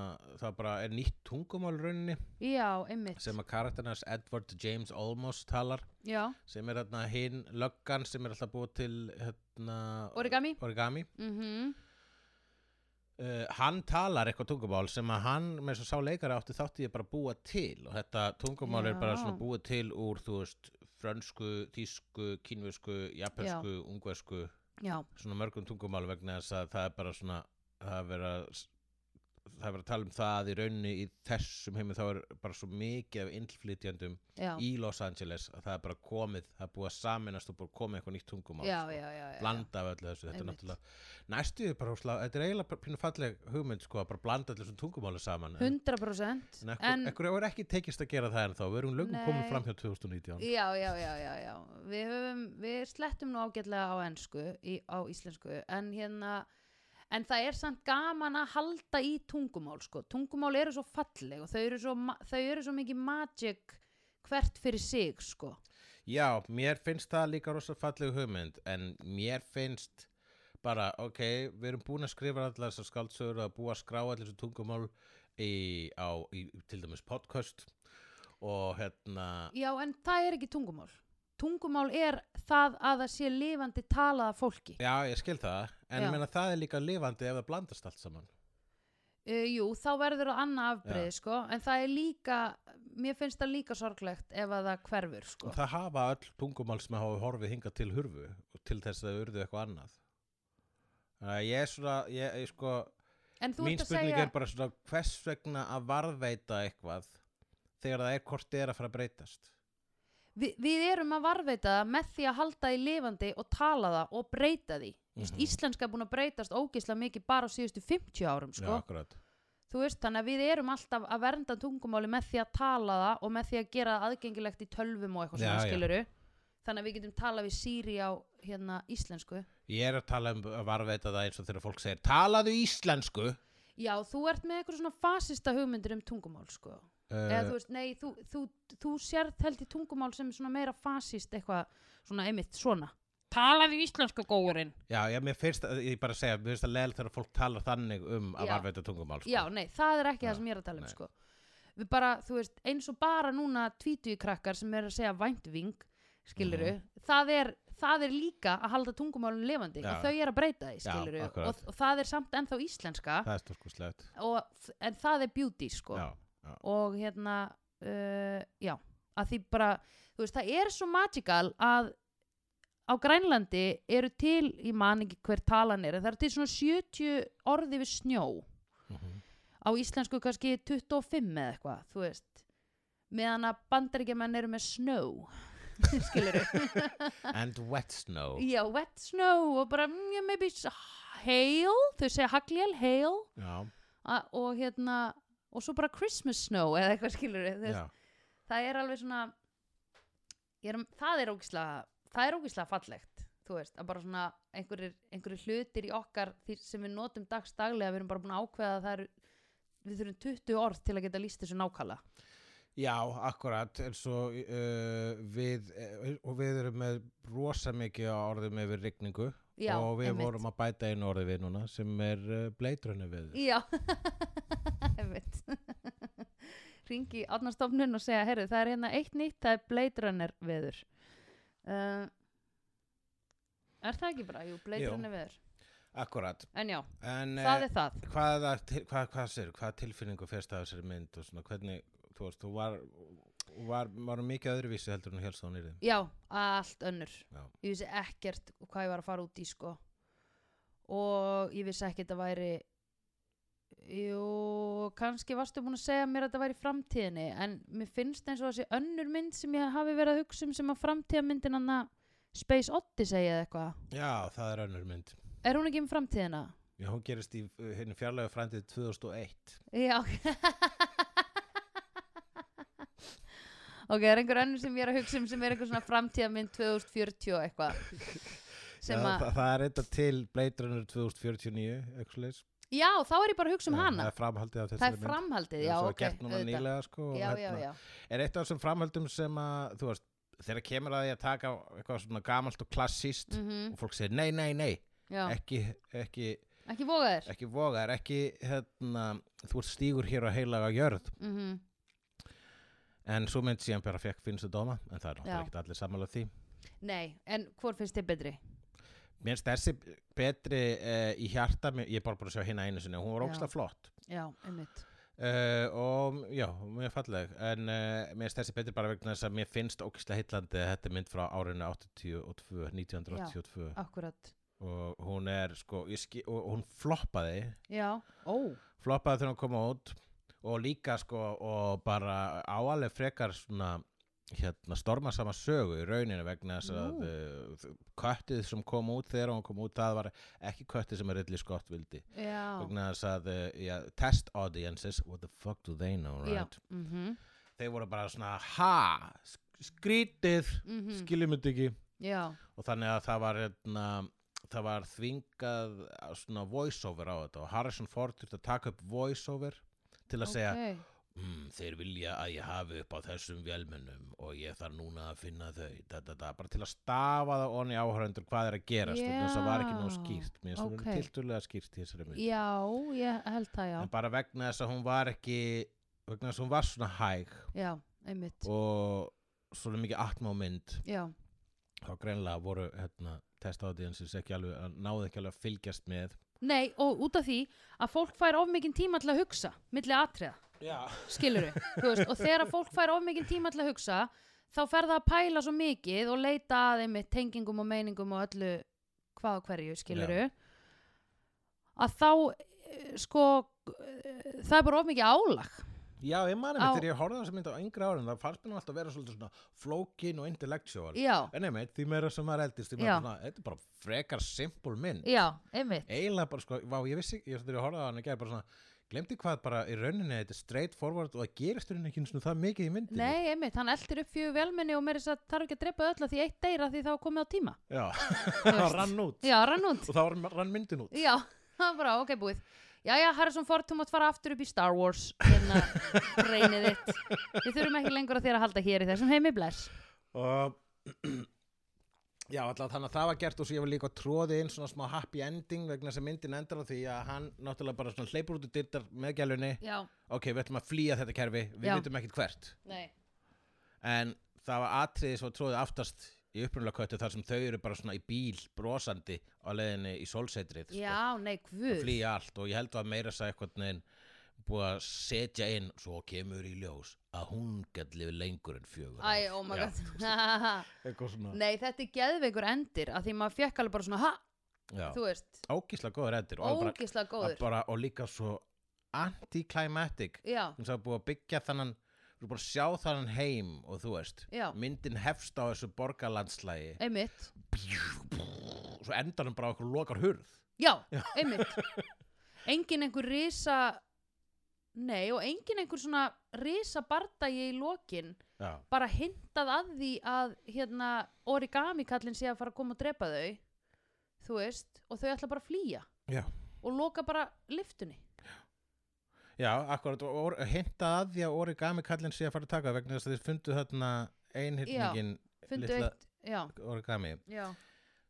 Speaker 1: það bara er nýtt tungumál í rauninni
Speaker 2: Já, einmitt.
Speaker 1: sem að karakternars Edward James Olmos talar
Speaker 2: Já,
Speaker 1: sem er hérna hinn löggan sem er alltaf búið til hérna
Speaker 2: Origami.
Speaker 1: origami
Speaker 2: mhm.
Speaker 1: Uh, hann talar eitthvað tungumál sem að hann með þess að sá leikari átti þátti ég bara að búa til og þetta tungumál er bara
Speaker 2: Já.
Speaker 1: svona búið til úr þú veist frönsku, tísku, kínversku, japansku, ungversku
Speaker 2: Já,
Speaker 1: svona mörgum tungumál vegna þess að það er bara svona það er verið að það er verið að tala um það í raunni í þessum heimi þá er bara svo mikið af innflytjandum
Speaker 2: já.
Speaker 1: í Los Angeles að það er bara komið, það er búið að saminast og búið að komið eitthvað nýtt tungumál
Speaker 2: já,
Speaker 1: sko
Speaker 2: já, já, já.
Speaker 1: blanda af öllu þessu, þetta
Speaker 2: Einmitt.
Speaker 1: er náttúrulega næstuði bara húsla, þetta er eiginlega bara pínu falleg hugmynd sko, að bara blanda allir svona tungumáli saman
Speaker 2: 100%
Speaker 1: en ekkur, en, ekkur er ekki tekist að gera það en þá, við erum lögum
Speaker 2: Nei.
Speaker 1: komin fram hjá 2019
Speaker 2: Já, já, já, já, já. Við, höfum, við slettum nú ágætlega á ennsku, í, á íslensku, en hérna, en það er samt gaman að halda í tungumál, sko. Tungumál eru svo falleg og þau eru svo, ma- þau eru svo mikið magic hvert fyrir sig, sko.
Speaker 1: já, mér finnst það líka rosa falleg hugmynd, en mér finnst bara, ok, við erum búin að skrifa allar þessar skaldsögur að búa að skrá allir þessu tungumál í, á, í, til dæmis podcast og hérna
Speaker 2: Já, en það er ekki tungumál. Tungumál er það að það sé lifandi talaða fólki.
Speaker 1: já, ég skil það, en
Speaker 2: Já.
Speaker 1: ég meina það er líka lifandi ef það blandast allt saman
Speaker 2: Uh, jú, þá verður það annað afbreið, sko, en það er líka, mér finnst það líka sorglegt ef að það hverfur, sko.
Speaker 1: Og það hafa öll tungumál sem hafa horfið hingað til hurfu og til þess að það urðu eitthvað annað. Þannig að ég er svona, ég, ég sko,
Speaker 2: en þú
Speaker 1: mín
Speaker 2: ert að
Speaker 1: spurning
Speaker 2: segja,
Speaker 1: er bara svona hvers vegna að varðveita eitthvað þegar það er hvort þið er að fara að breytast.
Speaker 2: vi, við erum að varveita það með því að halda því lifandi og tala það og breyta því. Mm
Speaker 1: Mhm.
Speaker 2: Íslenska er búin að breytast ógislega mikið bara á síðustu 50 árum,
Speaker 1: Já,
Speaker 2: sko.
Speaker 1: akkurat.
Speaker 2: þú veist, þannig að við erum alltaf að vernda tungumáli með því að tala það og með því að gera það aðgengilegt í tölvum og eitthvað
Speaker 1: Já,
Speaker 2: svona
Speaker 1: já.
Speaker 2: skiluru þannig að við getum talað við Siri á hérna íslensku
Speaker 1: Ég er að tala um að varveita það eins og þegar fólk segir talaðu íslensku
Speaker 2: já, þú ert með eitthvað svona fasista hugmyndir um tungumál sko eða
Speaker 1: uh,
Speaker 2: þú veist, nei, þú, þú, þú, sérð held í tungumál sem svona meira fasist eitthvað svona einmitt svona talaðu íslensku góurinn
Speaker 1: Eh, Já, já, mér finnst að, ég bara segja, mér finnst að leil þegar fólk talar þannig um að
Speaker 2: Já.
Speaker 1: varveita tungumál sko.
Speaker 2: já, nei, það er ekki
Speaker 1: Já,
Speaker 2: það sem ég er að tala um
Speaker 1: nei.
Speaker 2: sko. við bara, þú veist, eins og bara núna tvítugikrakkar sem er að segja væntving skiluru,
Speaker 1: Mhm.
Speaker 2: það, er, það er líka að halda tungumálum levandi
Speaker 1: Já.
Speaker 2: og þau er að breyta því,
Speaker 1: Já,
Speaker 2: skiluru
Speaker 1: akkurat.
Speaker 2: og, og það er samt ennþá íslenska
Speaker 1: Það er stórkuslegt
Speaker 2: og, en það er beauty sko.
Speaker 1: Já,
Speaker 2: og hérna uh, já, að því bara þú veist, það er svo magical að á Grænlandi eru til ég man ekki hver talan er en það eru til svona 70 orði við snjó
Speaker 1: mm
Speaker 2: á íslensku kannski 25 eða eitthvað, þú veist meðan að bandaríkjamenn eru með snow skilur
Speaker 1: And wet snow
Speaker 2: já, wet snow og bara mm, yeah, maybe it's hail þau segja hagljál, hail
Speaker 1: Já,
Speaker 2: A og hérna, og svo bara Christmas snow eða eitthvað skilur
Speaker 1: já,
Speaker 2: það er alveg svona ég er, það er ógislega það er ógislega fallegt þú veist, að bara svona einhverjir, einhverjir hlutir í okkar því sem við notum dagstaglega við erum bara búin að ákveða að það eru við þurfum 20 orð til að geta líst þessu nákala
Speaker 1: já, akkurat En svo uh, við uh, Og við erum með rosa mikið á orðum yfir rigningu
Speaker 2: Já,
Speaker 1: Og við
Speaker 2: einmitt.
Speaker 1: vorum að bæta einu orði við núna Sem er uh, bleitrunni við
Speaker 2: Já, einmitt Ringi átnarstofnun og segja, herru, það er hérna eitt nýtt, það er Blade Runner veður uh, Er það ekki bara? Jú, Blade
Speaker 1: Jú.
Speaker 2: Runner veður
Speaker 1: Akkurat
Speaker 2: En já,
Speaker 1: En uh,
Speaker 2: það er það
Speaker 1: hvað, hvað, hvað, hvað, segirðu, hvað tilfinningu fyrst af þessari mynd og svona hvernig, þú veist, þú var, var, var mikið öðruvísi heldur en helst þá nýrði.
Speaker 2: Já, allt önnur
Speaker 1: Já.
Speaker 2: Ég vissi ekkert hvað ég var að fara út í sko og ég vissi ekkert að væri Jú, kannski varstu búin að segja mér að þetta væri í framtíðinni en mér finnst eins og þessi önnur mynd sem ég hafi verið að hugsa um sem að framtíðamyndin hann Space Odyssey eða eitthvað
Speaker 1: Já, það er önnur mynd.
Speaker 2: Er hún ekki um framtíðina?
Speaker 1: Já, hún gerist í uh, henni fjarlægu frændið 2001.
Speaker 2: Já Ok, er einhver önnur sem ég er að hugsa um sem er einhver svona framtíðamynd 2040 og eitthvað
Speaker 1: Já,
Speaker 2: sem að
Speaker 1: það, það er enda til Blade Runner 2049, eitthvað leys.
Speaker 2: Já, þá er ég bara að hugsa um hana
Speaker 1: Það er framhaldið af
Speaker 2: Það er
Speaker 1: þessari mynd.
Speaker 2: framhaldið, já,
Speaker 1: Svo
Speaker 2: ok.
Speaker 1: gert núna
Speaker 2: auðvitað.
Speaker 1: nýlega, sko. og
Speaker 2: Já, já,
Speaker 1: hérna-
Speaker 2: já.
Speaker 1: Er eitt af þessum framhaldum sem að, þú veist, þegar kemur að því að taka eitthvað svona gamalt og klassíst
Speaker 2: Mhm,
Speaker 1: og fólk segir nei, nei, nei,
Speaker 2: já.
Speaker 1: ekki, ekki,
Speaker 2: Ekki voga þér.
Speaker 1: ekki voga, er ekki hérna, þú ert stígur hér á heilaga jörð
Speaker 2: Mhm,
Speaker 1: en svo mynd síðan bara fekk finnstu dóma en það
Speaker 2: Já.
Speaker 1: er náttúrulega ekki allir sammála því
Speaker 2: Nei, en hvort finnst þið betri?
Speaker 1: mér finnst þessi betri uh, í hjarta, mér- ég er bara búin að sjá hérna einu sinni og hún var
Speaker 2: Já.
Speaker 1: ógsta flott
Speaker 2: Já, einmitt.
Speaker 1: Uh, og já, mjög falleg en uh, mér finnst þessi betri bara vegna þess að mér finnst ógislega heitlandi að þetta er mynd frá árinu 82, 1982
Speaker 2: Akkurat.
Speaker 1: og hún er sko, ég ski, og, og hún floppaði
Speaker 2: Já. Ó.
Speaker 1: floppaði þegar hún kom út og líka sko og bara áaleg frekar svona hérna storma sama sögu í rauninu vegna þess að
Speaker 2: Nú.
Speaker 1: uh, köttið sem kom út þegar hún kom út það var ekki köttið sem Ridley Scott vildi
Speaker 2: Já.
Speaker 1: vegna þess að uh, já, test audiences what the fuck do they know
Speaker 2: Já.
Speaker 1: right
Speaker 2: Mhm,
Speaker 1: þeir voru bara svona ha sk- skrítið
Speaker 2: mhm.
Speaker 1: skiljum þetta ekki
Speaker 2: Já.
Speaker 1: og þannig að það var hérna, það var þvingað uh, svona voiceover á þetta og Harrison Ford þurfti að taka upp voiceover til að segja
Speaker 2: Ok.
Speaker 1: mm, þeir vilja að ég hafi upp á þessum vélmennum og ég þarf núna að finna þau da, da, da, bara til að stafa það onni áhörundur hvað er að gerast vegna þess að það var ekki nóg
Speaker 2: Já,
Speaker 1: skýrt mér finnst
Speaker 2: ókei.
Speaker 1: okay. tildulega skýrt í þessari mynd
Speaker 2: Já, ég held það, já.
Speaker 1: en bara vegna þess að hún var ekki vegna þess að hún var svona hæg
Speaker 2: Já, einmitt.
Speaker 1: og svona mikið atmómynd
Speaker 2: Já.
Speaker 1: þá greinlega voru hérna, test audiences ekki alveg að náðu ekki alveg að fylgjast með
Speaker 2: Nei, og út af því að fólk fær of mikinn tíma til að hugsa, milli atriða.
Speaker 1: Já,
Speaker 2: skilur við og þegar að fólk fær of mikið tíma til að hugsa þá fer það að pæla svo mikið og leita að þeim með tengingum og meiningum og öllu hvað og hverju skilur við að þá eh, sko eh, það er bara of mikið álag
Speaker 1: já ég
Speaker 2: Á-
Speaker 1: mani mig, þegar ég horfði á þessa mynd á yngra árum það fannst mér nú alltaf að vera svolítið svona flókin og intellectual
Speaker 2: já,
Speaker 1: En einmitt, því meira sem maður eldist, því meira
Speaker 2: Já.
Speaker 1: svona, þetta er bara frekar simpul mynd.
Speaker 2: já, einmitt
Speaker 1: Eiginlega bara, sko, vá, ég vissi, ég þegar ég horfði á hann í gær bara svona, glemdi hvað bara í rauninni þetta er straight forward og það gerist í rauninni ekki einu sinni það mikið í myndinni
Speaker 2: Nei, einmitt, hann eldir upp fjögur velmenni og meira þess að þarf ekki að drepa öll að því eitt deyra því þá er komið á tíma.
Speaker 1: Já,
Speaker 2: Þú
Speaker 1: það
Speaker 2: veist.
Speaker 1: rann út
Speaker 2: Já, rann út.
Speaker 1: og þá rann- rann myndin út
Speaker 2: Já, það var bara, ok, búið. Já, já, Harrison Ford, þú mátt fara aftur upp í Star Wars, hérna, reynið þitt. Við þurfum ekki lengur að þér að halda hér í þessum heimi bless.
Speaker 1: og já, alltaf þannig að það var gert og svo ég var líka tróði inn svona smá happy ending vegna sem myndin endar á því að hann náttúrulega bara svona hleypur út og dyrtar með gælunni
Speaker 2: Já,
Speaker 1: ok, við ætlum að flýja þetta kerfi,
Speaker 2: Já.
Speaker 1: við vitum ekkert hvert
Speaker 2: nei,
Speaker 1: en það var atriði svo tróðið aftast í upprunalega köttu þar sem þau eru bara svona í bíl brosandi á leiðinni í solsetrið sko.
Speaker 2: já, nei,
Speaker 1: að
Speaker 2: guð.
Speaker 1: flýja allt og ég held að meira sagði eitthvað neginn búið að setja inn svo kemur í ljós að hún gæti lifið lengur en fjögur
Speaker 2: Æ, oh my god.
Speaker 1: god
Speaker 2: nei, þetta er geðveikur endir, að því maður fekk alveg bara svona, ha, þú veist,
Speaker 1: ógísla góður endur og, alveg
Speaker 2: ógislega
Speaker 1: bara, að
Speaker 2: góður.
Speaker 1: bara, og líka svo anticlimactic
Speaker 2: Já,
Speaker 1: eins og búið að byggja þannan þú er búið að sjá þannan heim og þú veist
Speaker 2: Já.
Speaker 1: myndin hefst á þessu borgarlandslægi
Speaker 2: einmitt.
Speaker 1: svo endar hann bara á okkur lokar hurð
Speaker 2: Já, einmitt Engin einhver risa Nei, og engin einhver svona risa bardagi í lokin
Speaker 1: já,
Speaker 2: bara hintað að því að hérna origami kallinn sé að fara að koma og drepa þau þú veist, og þau ætla bara að flýja
Speaker 1: já.
Speaker 2: og loka bara liftunni
Speaker 1: Já, akkurat, og or, hintað að því að origami kallinn sé að fara að taka vegna þess að þeir fundu þarna einhyrningin
Speaker 2: fundu
Speaker 1: Litla-
Speaker 2: eitt, já,
Speaker 1: origami.
Speaker 2: já,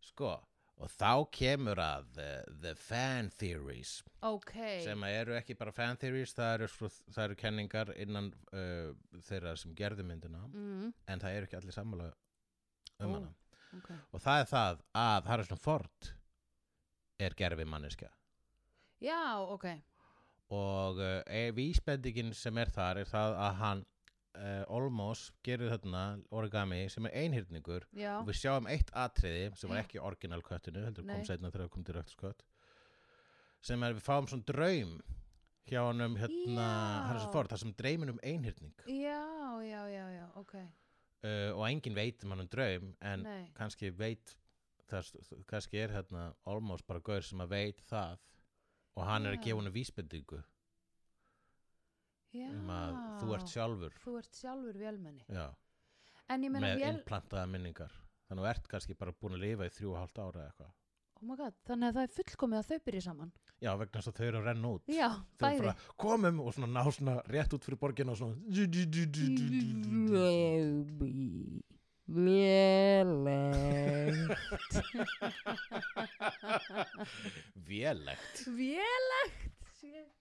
Speaker 1: Sko, og þá kemur að the, the fan theories
Speaker 2: ok
Speaker 1: sem að eru ekki bara fan theories, það eru, svo, það eru kenningar innan uh, þeirra sem gerðu myndina
Speaker 2: mm,
Speaker 1: en það eru ekki allir sammála um
Speaker 2: Ó.
Speaker 1: hana.
Speaker 2: ok.
Speaker 1: Og það er það að Harrison Ford er gerfi manneskja
Speaker 2: Já, ok
Speaker 1: og uh, e- vísbendingin sem er þar er það að hann uh, Olmos gerir þarna origami sem er einhyrningur
Speaker 2: Já,
Speaker 1: og við sjáum eitt atriði sem var
Speaker 2: Já.
Speaker 1: ekki í orginal köttinu heldur
Speaker 2: Nei.
Speaker 1: kom setna þegar það kom direkt skött sem er við fáum svona draum hjá hann um hérna
Speaker 2: Já.
Speaker 1: Harrison Ford, það sem dreymin um einhyrning
Speaker 2: já, já, já, já, ok
Speaker 1: uh, og enginn veit um hann um draum en
Speaker 2: Nei,
Speaker 1: kannski veit það, kannski er hérna Olmos bara gaur sem að veit það og hann er
Speaker 2: Já.
Speaker 1: að gefa hann vísbendingu
Speaker 2: já
Speaker 1: um að þú ert sjálfur
Speaker 2: Þú ert sjálfur vélmenni
Speaker 1: Já.
Speaker 2: En ég meina
Speaker 1: með
Speaker 2: vél,
Speaker 1: innplantaða minningar þannig að þú ert kannski bara búin að lifa í þrjú og halvt ára eða eitthvað
Speaker 2: oh my god, þannig að það er fullkomið að þau byrja saman.
Speaker 1: já, vegna þess að þau eru að renna út
Speaker 2: Já,
Speaker 1: þau
Speaker 2: bæði.
Speaker 1: bara komum og svona ná svona rétt út fyrir borgin og svona
Speaker 2: Vélegt.
Speaker 1: vélegt
Speaker 2: Vélegt. shit.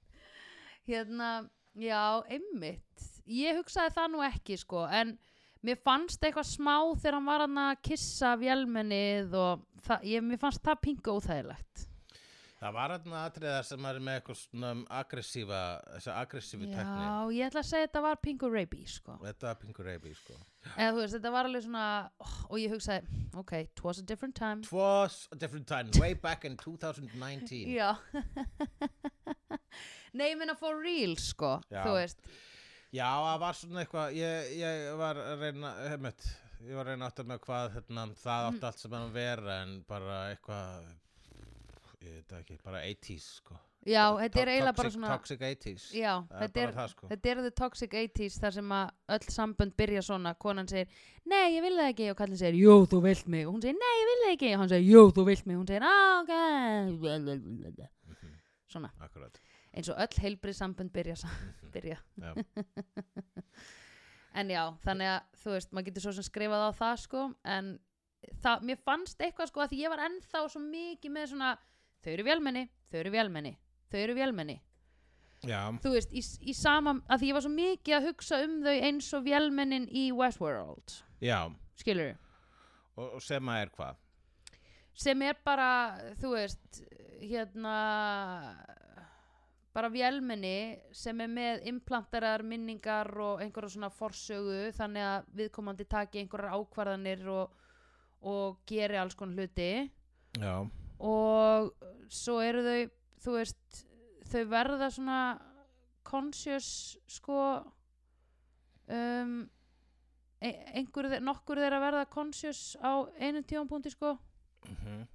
Speaker 2: Hérna, já, einmitt. Ég hugsaði það nú ekki, sko, en mér fannst eitthvað smá þegar hann var hann að kissa vélmennið og það, ég, mér fannst það pingu óþægilegt.
Speaker 1: það var hérna atriða sem er með eitthvað svona aggressífa þessa aggressífi tekni
Speaker 2: Já, ég ætla að segja þetta var pingu rabies, sko.
Speaker 1: þetta var pingur reyfi sko
Speaker 2: eða þú veist, þetta var alveg svona oh, og ég hugsaði, ok, it was a different time
Speaker 1: it was a different time way back in 2019
Speaker 2: já nei, ég meina for real, sko
Speaker 1: Já.
Speaker 2: þú veist,
Speaker 1: Já, það var svona eitthvað, ég, ég var að reyna, heimitt, ég var að reyna aftur með hvað hérna, það átti
Speaker 2: Mm.
Speaker 1: allt sem hann vera en bara eitthvað, ég veit það ekki, bara 80s sko.
Speaker 2: já, þetta er
Speaker 1: To-
Speaker 2: eiginlega bara
Speaker 1: toxic-
Speaker 2: svona
Speaker 1: Toxic 80s.
Speaker 2: já,
Speaker 1: Það er
Speaker 2: þetta
Speaker 1: bara
Speaker 2: er,
Speaker 1: það sko.
Speaker 2: þetta er the toxic 80s þar sem að öll sambönd byrja svona, konan segir nei, ég vil það ekki, og kallin segir, jú, þú vilt mig og hún segir, nei, ég vil það ekki, og hann segir, jú, þú vilt mig og hún segir, ah,
Speaker 1: Mhm.
Speaker 2: ok svona,
Speaker 1: Akkurat,
Speaker 2: eins og öll heilbrið sambönd byrja, sa-
Speaker 1: Mhm.
Speaker 2: byrja
Speaker 1: já.
Speaker 2: En já, þannig að þú veist, maður getur svo sem skrifað á það sko, en það, mér fannst eitthvað sko að því ég var ennþá svo mikið með svona, þau eru vélmenni, þau eru vélmenni, þau eru vélmenni.
Speaker 1: já,
Speaker 2: Þú veist, í, í sama, að því ég var svo mikið að hugsa um þau eins og vélmennin í Westworld,
Speaker 1: já,
Speaker 2: skilur
Speaker 1: og, og sem að er hvað?
Speaker 2: Sem er bara, þú veist, hérna, bara vélmenni sem er með implantarar minningar og einhverja svona forsögu þannig að viðkomandi taki einhverjar ákvarðanir og, og geri alls konar hluti
Speaker 1: Já,
Speaker 2: og svo eru þau þú veist, þau verða svona conscious sko um e einhver, nokkur þeirra verða conscious á einum tímanbúndi sko
Speaker 1: mhm,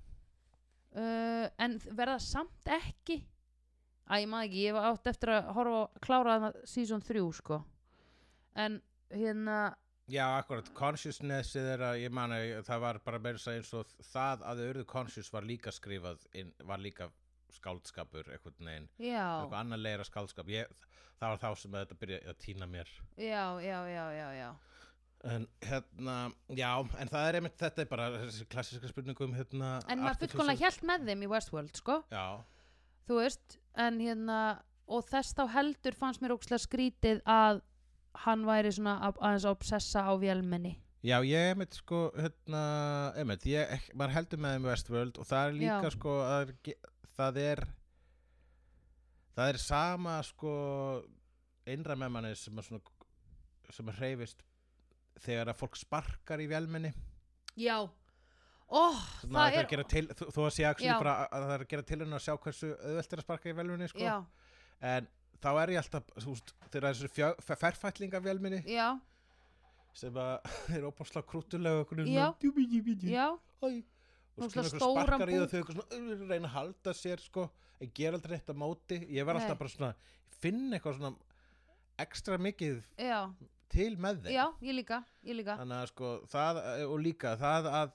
Speaker 2: Eh, uh, en þ- verða samt ekki Æ, ég maður ekki, ég var átt eftir að horfa á klára þarna season 3 sko en hérna
Speaker 1: Já, akkurat, consciousnessið er að ég man að ég- það var bara meira að segja eins og það að þau urðu conscious var líka skrifað inn, var líka skáldskapur einhvern veginn,
Speaker 2: já,
Speaker 1: eitthvað annar leira skáldskap ég, það var þá sem þetta byrjaði að týna mér
Speaker 2: já, já, já, já, já
Speaker 1: en hérna, já, en það er einmitt þetta er bara þessi klassíska spurningu um hérna
Speaker 2: en maður fullkomlega hjælt með þeim í Westworld sko,
Speaker 1: Já,
Speaker 2: þú veist en hérna, og þess þá heldur fannst mér ókslega skrítið að hann væri svona að, aðeins að obsessa á vélmenni
Speaker 1: Já, ég einmitt sko, hérna, einmitt, ég, ek- maður heldur með þeim í Westworld og það er líka
Speaker 2: Já.
Speaker 1: sko, að, það er ge- það er, það er sama sko innra með manni sem að svona, sem að hreyfist þegar að fólk sparkar í velminni.
Speaker 2: já, óh, það er
Speaker 1: Til, þó, þó að sé actually
Speaker 2: Já.
Speaker 1: bara að- að það er að gera tilhörna að sjá hversu auðvelt er að sparka í velminni sko.
Speaker 2: já,
Speaker 1: En þá er ég alltaf, þú veist, þegar þessu ferfætlinga velminni
Speaker 2: já,
Speaker 1: sem að er óbáslega krútulega okkur
Speaker 2: Já.
Speaker 1: Já.
Speaker 2: já
Speaker 1: Æ, og
Speaker 2: Nógslega
Speaker 1: skilur einhver
Speaker 2: stóran
Speaker 1: sparkar í það
Speaker 2: búk.
Speaker 1: þau eitthvað svona uh, reyna að halda sér sko en gera aldrei neitt á móti ég var alltaf
Speaker 2: Nei.
Speaker 1: bara svona finn eitthvað svona ekstra mikið
Speaker 2: já,
Speaker 1: til með þeim
Speaker 2: já, ég líka, ég líka
Speaker 1: þannig að sko það eh, og líka það að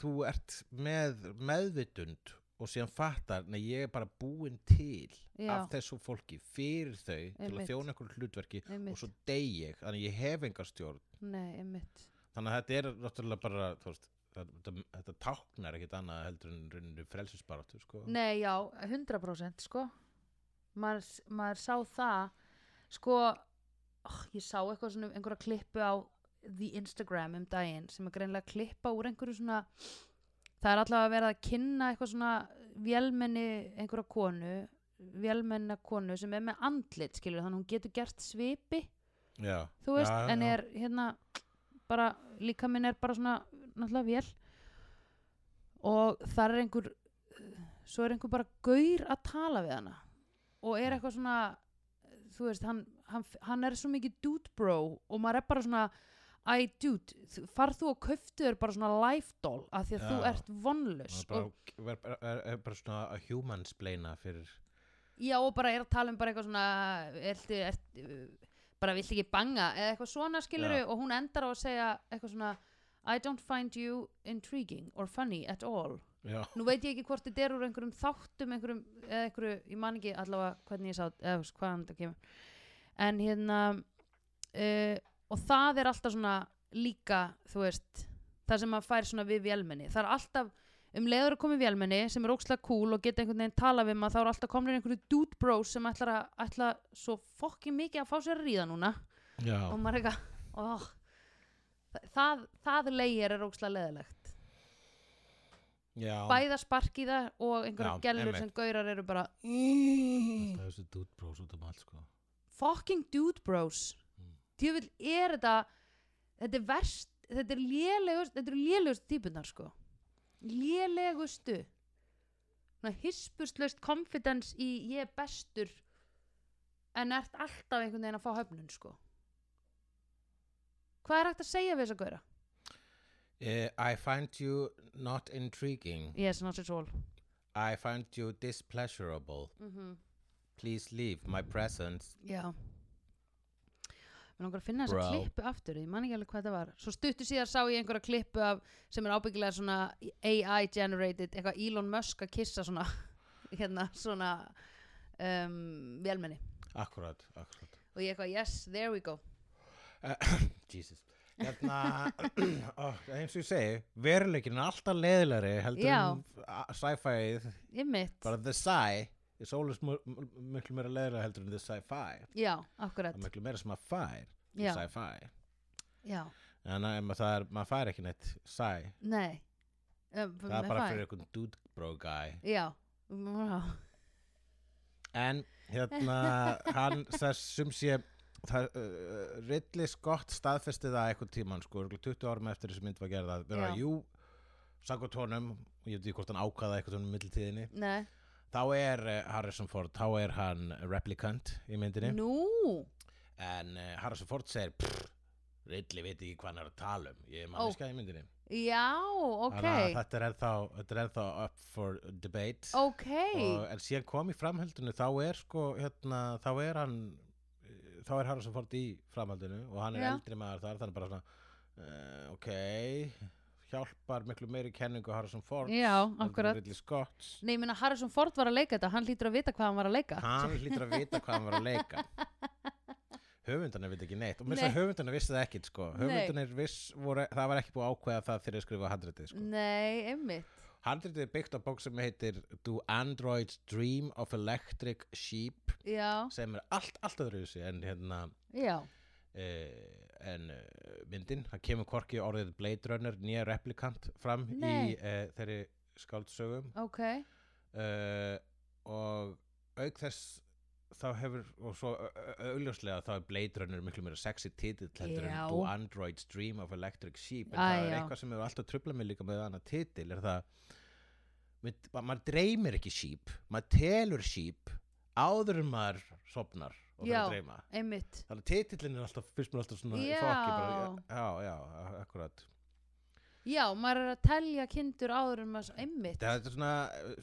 Speaker 1: þú ert með meðvitund og síðan fattar nei ég er bara búin til
Speaker 2: já,
Speaker 1: af þessu fólki fyrir þau til að
Speaker 2: Einmitt.
Speaker 1: þjóna einhverju hlutverki og
Speaker 2: einmitt,
Speaker 1: svo dey ég þannig að ég hef engar stjórn
Speaker 2: nei, einmitt
Speaker 1: þannig að þetta er náttúrulega bara þú veist, þetta, þetta táknar ekkit annað heldur en rauninni frelsisbaráttu sko.
Speaker 2: Nei, já, 100% sko maður, s- maður sá það sko oh, ég sá eitthvað svona einhverja klippu á The Instagram um daginn sem er greinlega klippa úr einhverju svona það er allavega verið að kynna eitthvað svona vélmenni einhverja konu vélmenna konu sem er með andlit skilur þannig að hún getur gert svipi
Speaker 1: já,
Speaker 2: þú veist,
Speaker 1: Já,
Speaker 2: en
Speaker 1: já.
Speaker 2: er hérna bara, líka minn er bara svona náttúrulega vél og þar er einhver svo er einhver bara gaur að tala við hana og er eitthvað svona þú veist, hann, hann, hann er svo mikið dude bro og maður er bara svona Æ, dude, þú- farð þú og köftu þér bara svona life doll af því að þú
Speaker 1: Já.
Speaker 2: ert vonlaus
Speaker 1: Maður bara,
Speaker 2: og,
Speaker 1: er, bara- er, er bara svona að humansplaina fyrir
Speaker 2: já, og bara er að tala um bara eitthvað svona ertu, ertu, bara vill ekki banga eða eitthvað svona skiluru og hún endar á að segja eitthvað svona I don't find you intriguing or funny at all
Speaker 1: já,
Speaker 2: nú veit ég ekki hvort þetta er úr einhverjum þáttum einhverjum, eða einhverju, ég man ekki allavega hvernig ég sá, eða þú veist, hvaðan þetta kemur en hérna uh, og það er alltaf svona líka, þú veist það sem maður fær svona við vélmenni það er alltaf, um leiður að koma í vélmenni sem er ókslega cool og geta einhvern veginn tala við maður þá er alltaf komin einhverju dude bros sem ætlar að, ætla svo fokkin mikið að fá sér að ríða núna
Speaker 1: já.
Speaker 2: og maður er eitthvað oh, það, það leigir er ókslega leðilegt
Speaker 1: já.
Speaker 2: bæða spark í það og einhverja
Speaker 1: Já,
Speaker 2: gælur
Speaker 1: einmitt.
Speaker 2: sem gaurar eru bara
Speaker 1: það er þessi dútbrós út um allt sko.
Speaker 2: fucking dude bros
Speaker 1: Mm.
Speaker 2: djöfull er þetta þetta er verst, þetta er lélegust þetta eru lélegust típunar sko lélegustu svona hispurslaust confidence í ég er bestur en ert alltaf einhvern veginn að fá höfnun sko hvað er hægt að segja við þess að gauðra?
Speaker 1: Eh, I find you not intriguing
Speaker 2: yes, not at all
Speaker 1: I find you displeasurable
Speaker 2: mm
Speaker 1: Please leave my presence
Speaker 2: Já Mér langar að finna þessa
Speaker 1: Bro.
Speaker 2: klippu aftur Ég man ekki alveg hvað það var Svo stuttu síðar sá ég einhverja klippu af sem er ábyggilega svona AI generated eitthvað Elon Musk að kissa svona hérna svona um, vélmenni
Speaker 1: Akkurat, akkurat
Speaker 2: og ég eitthvað yes, there we go
Speaker 1: Jesus hérna, ó, eins og ég segi veruleikin er alltaf leðilegri heldur
Speaker 2: Já.
Speaker 1: um sci-fi
Speaker 2: Ég mitt
Speaker 1: bara the sci er sólus miklu meira leðilega heldur en the sci-fi
Speaker 2: Já,
Speaker 1: það
Speaker 2: akkurat
Speaker 1: er miklu meira sem maður fær í
Speaker 2: Já,
Speaker 1: sci-fi
Speaker 2: já,
Speaker 1: en að- em, það er, maður fær ekki neitt sci
Speaker 2: nei um,
Speaker 1: það er bara fyrir einhvern dude bro guy
Speaker 2: Já, já,
Speaker 1: en hérna hann þessum sé það, uh, Ridley Scott staðfesti það eitthvað tíman sko, örugglega 20 árum eftir þessi mynd var gerða það vera
Speaker 2: Já.
Speaker 1: jú, sagði honum og ég veit ekki hvort hann ákvaða eitthvað honum í millitíðinni
Speaker 2: nei
Speaker 1: þá er uh, Harrison Ford, þá er hann replicant í myndinni
Speaker 2: Nú,
Speaker 1: en uh, Harrison Ford eh, segir "Pff, Ridley veit ekki hvað hann er að tala um ég er manneska í myndinni
Speaker 2: Já, ok
Speaker 1: Þannig að þetta er ennþá, þetta er ennþá up for debate
Speaker 2: Ok,
Speaker 1: og, en síðan kom í framhaldinu þá er sko hérna, þá er hann eh, þá er hann sem fórt í framhaldinu og hann er
Speaker 2: Já.
Speaker 1: eldri maður þar þannig bara svona uh, ok hjálpar miklu meiri kenningu Harrison Ford
Speaker 2: Já, akkurat.
Speaker 1: Ridley Scott
Speaker 2: nei, ég meina Harrison Ford var að leika þetta Hann hlýtur að vita hvað hann var að leika
Speaker 1: hann hlýtur að vita hvað hann var að leika höfundarnir veit ekki neitt og mér svo
Speaker 2: Nei.
Speaker 1: höfundarnir vissi það ekkit sko
Speaker 2: Nei. Mm.
Speaker 1: höfundarnir viss voru, það var ekki búið að ákveða það þegar þeir skrifa handritið sko.
Speaker 2: Nei, einmitt
Speaker 1: handritið er byggt á bók sem heitir Do Androids Dream of Electric Sheep
Speaker 2: Já,
Speaker 1: sem er allt, allt öðruvísi en hérna
Speaker 2: já,
Speaker 1: uh, en uh, myndin, það kemur korki orðið Blade Runner, nýja replikant fram
Speaker 2: Nei.
Speaker 1: í uh, þeirri skáldsögum
Speaker 2: ok
Speaker 1: uh, og auk þess þá hefur, og svo au- au- augljóslega þá er Blade Runner miklu meira sexy titill heldur
Speaker 2: Já.
Speaker 1: en Do Androids Dream of Electric Sheep en
Speaker 2: Æ,
Speaker 1: það er
Speaker 2: já.
Speaker 1: eitthvað sem hefur alltaf tröflað mig líka með annað titill er það mynd- ma- maður dreymir ekki sheep maður telur sheep áður en maður sopnar og fyrir
Speaker 2: Já.
Speaker 1: að dreyma
Speaker 2: Einmitt
Speaker 1: þannig að titillin er alltaf fyrst mér alltaf svona í
Speaker 2: Já.
Speaker 1: fokki bara, já, já, akkurat
Speaker 2: Já, maður er að telja kindur áður en maður einmitt.
Speaker 1: þetta er svona,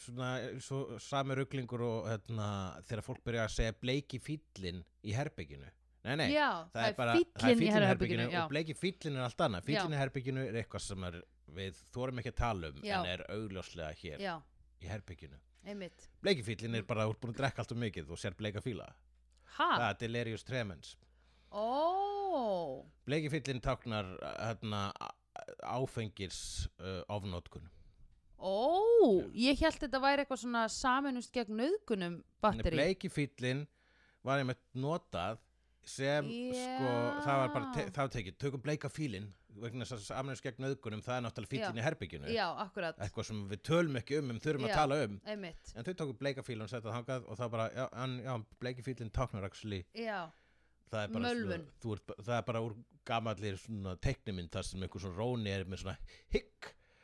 Speaker 1: svona svo, sami ruglingur og hérna, þegar fólk byrja að segja bleiki fýllin í herbygginu nei, nei,
Speaker 2: já,
Speaker 1: það er bara
Speaker 2: fíllinn
Speaker 1: það er
Speaker 2: í
Speaker 1: fíllinn í herbygginu
Speaker 2: herberginu, já.
Speaker 1: og bleiki fýllin er allt annað fýllin
Speaker 2: Já.
Speaker 1: í herbygginu er eitthvað sem er, við þórum ekki að tala um
Speaker 2: Já.
Speaker 1: en er augljóslega hér
Speaker 2: Já,
Speaker 1: í herbygginu
Speaker 2: einmitt.
Speaker 1: bleiki fýllin er bara útbúin að drekka allt og mikið og sér bleika fíla það
Speaker 2: Ha?
Speaker 1: er delirius tremens
Speaker 2: Ó,
Speaker 1: bleiki fýllin táknar hérna, á- áfengis uh, ofnótkun
Speaker 2: ó, ég held þetta væri eitthvað svona saminust gegn nöðgunum batteri.
Speaker 1: bleiki fýllin var einmitt notað sem sko, það var bara te
Speaker 2: Já.
Speaker 1: það var tekið, tökum bleika fílin vegna þess að samnæmis gegn auðgunum, það er náttúrulega fílin í herbygginu,
Speaker 2: Já, akkurat,
Speaker 1: eitthvað sem við tölum ekki um um þurfum
Speaker 2: Já.
Speaker 1: að tala um,
Speaker 2: einmitt.
Speaker 1: en þau tóku bleika fílin og setja þangað og það bara, já, en, já bleiki fílin táknar actually,
Speaker 2: Já,
Speaker 1: það er bara
Speaker 2: Mölvun.
Speaker 1: svona, þú ert, það er bara úr gamallir svona teiknimynd þar sem einhver svona róni er með svona hikk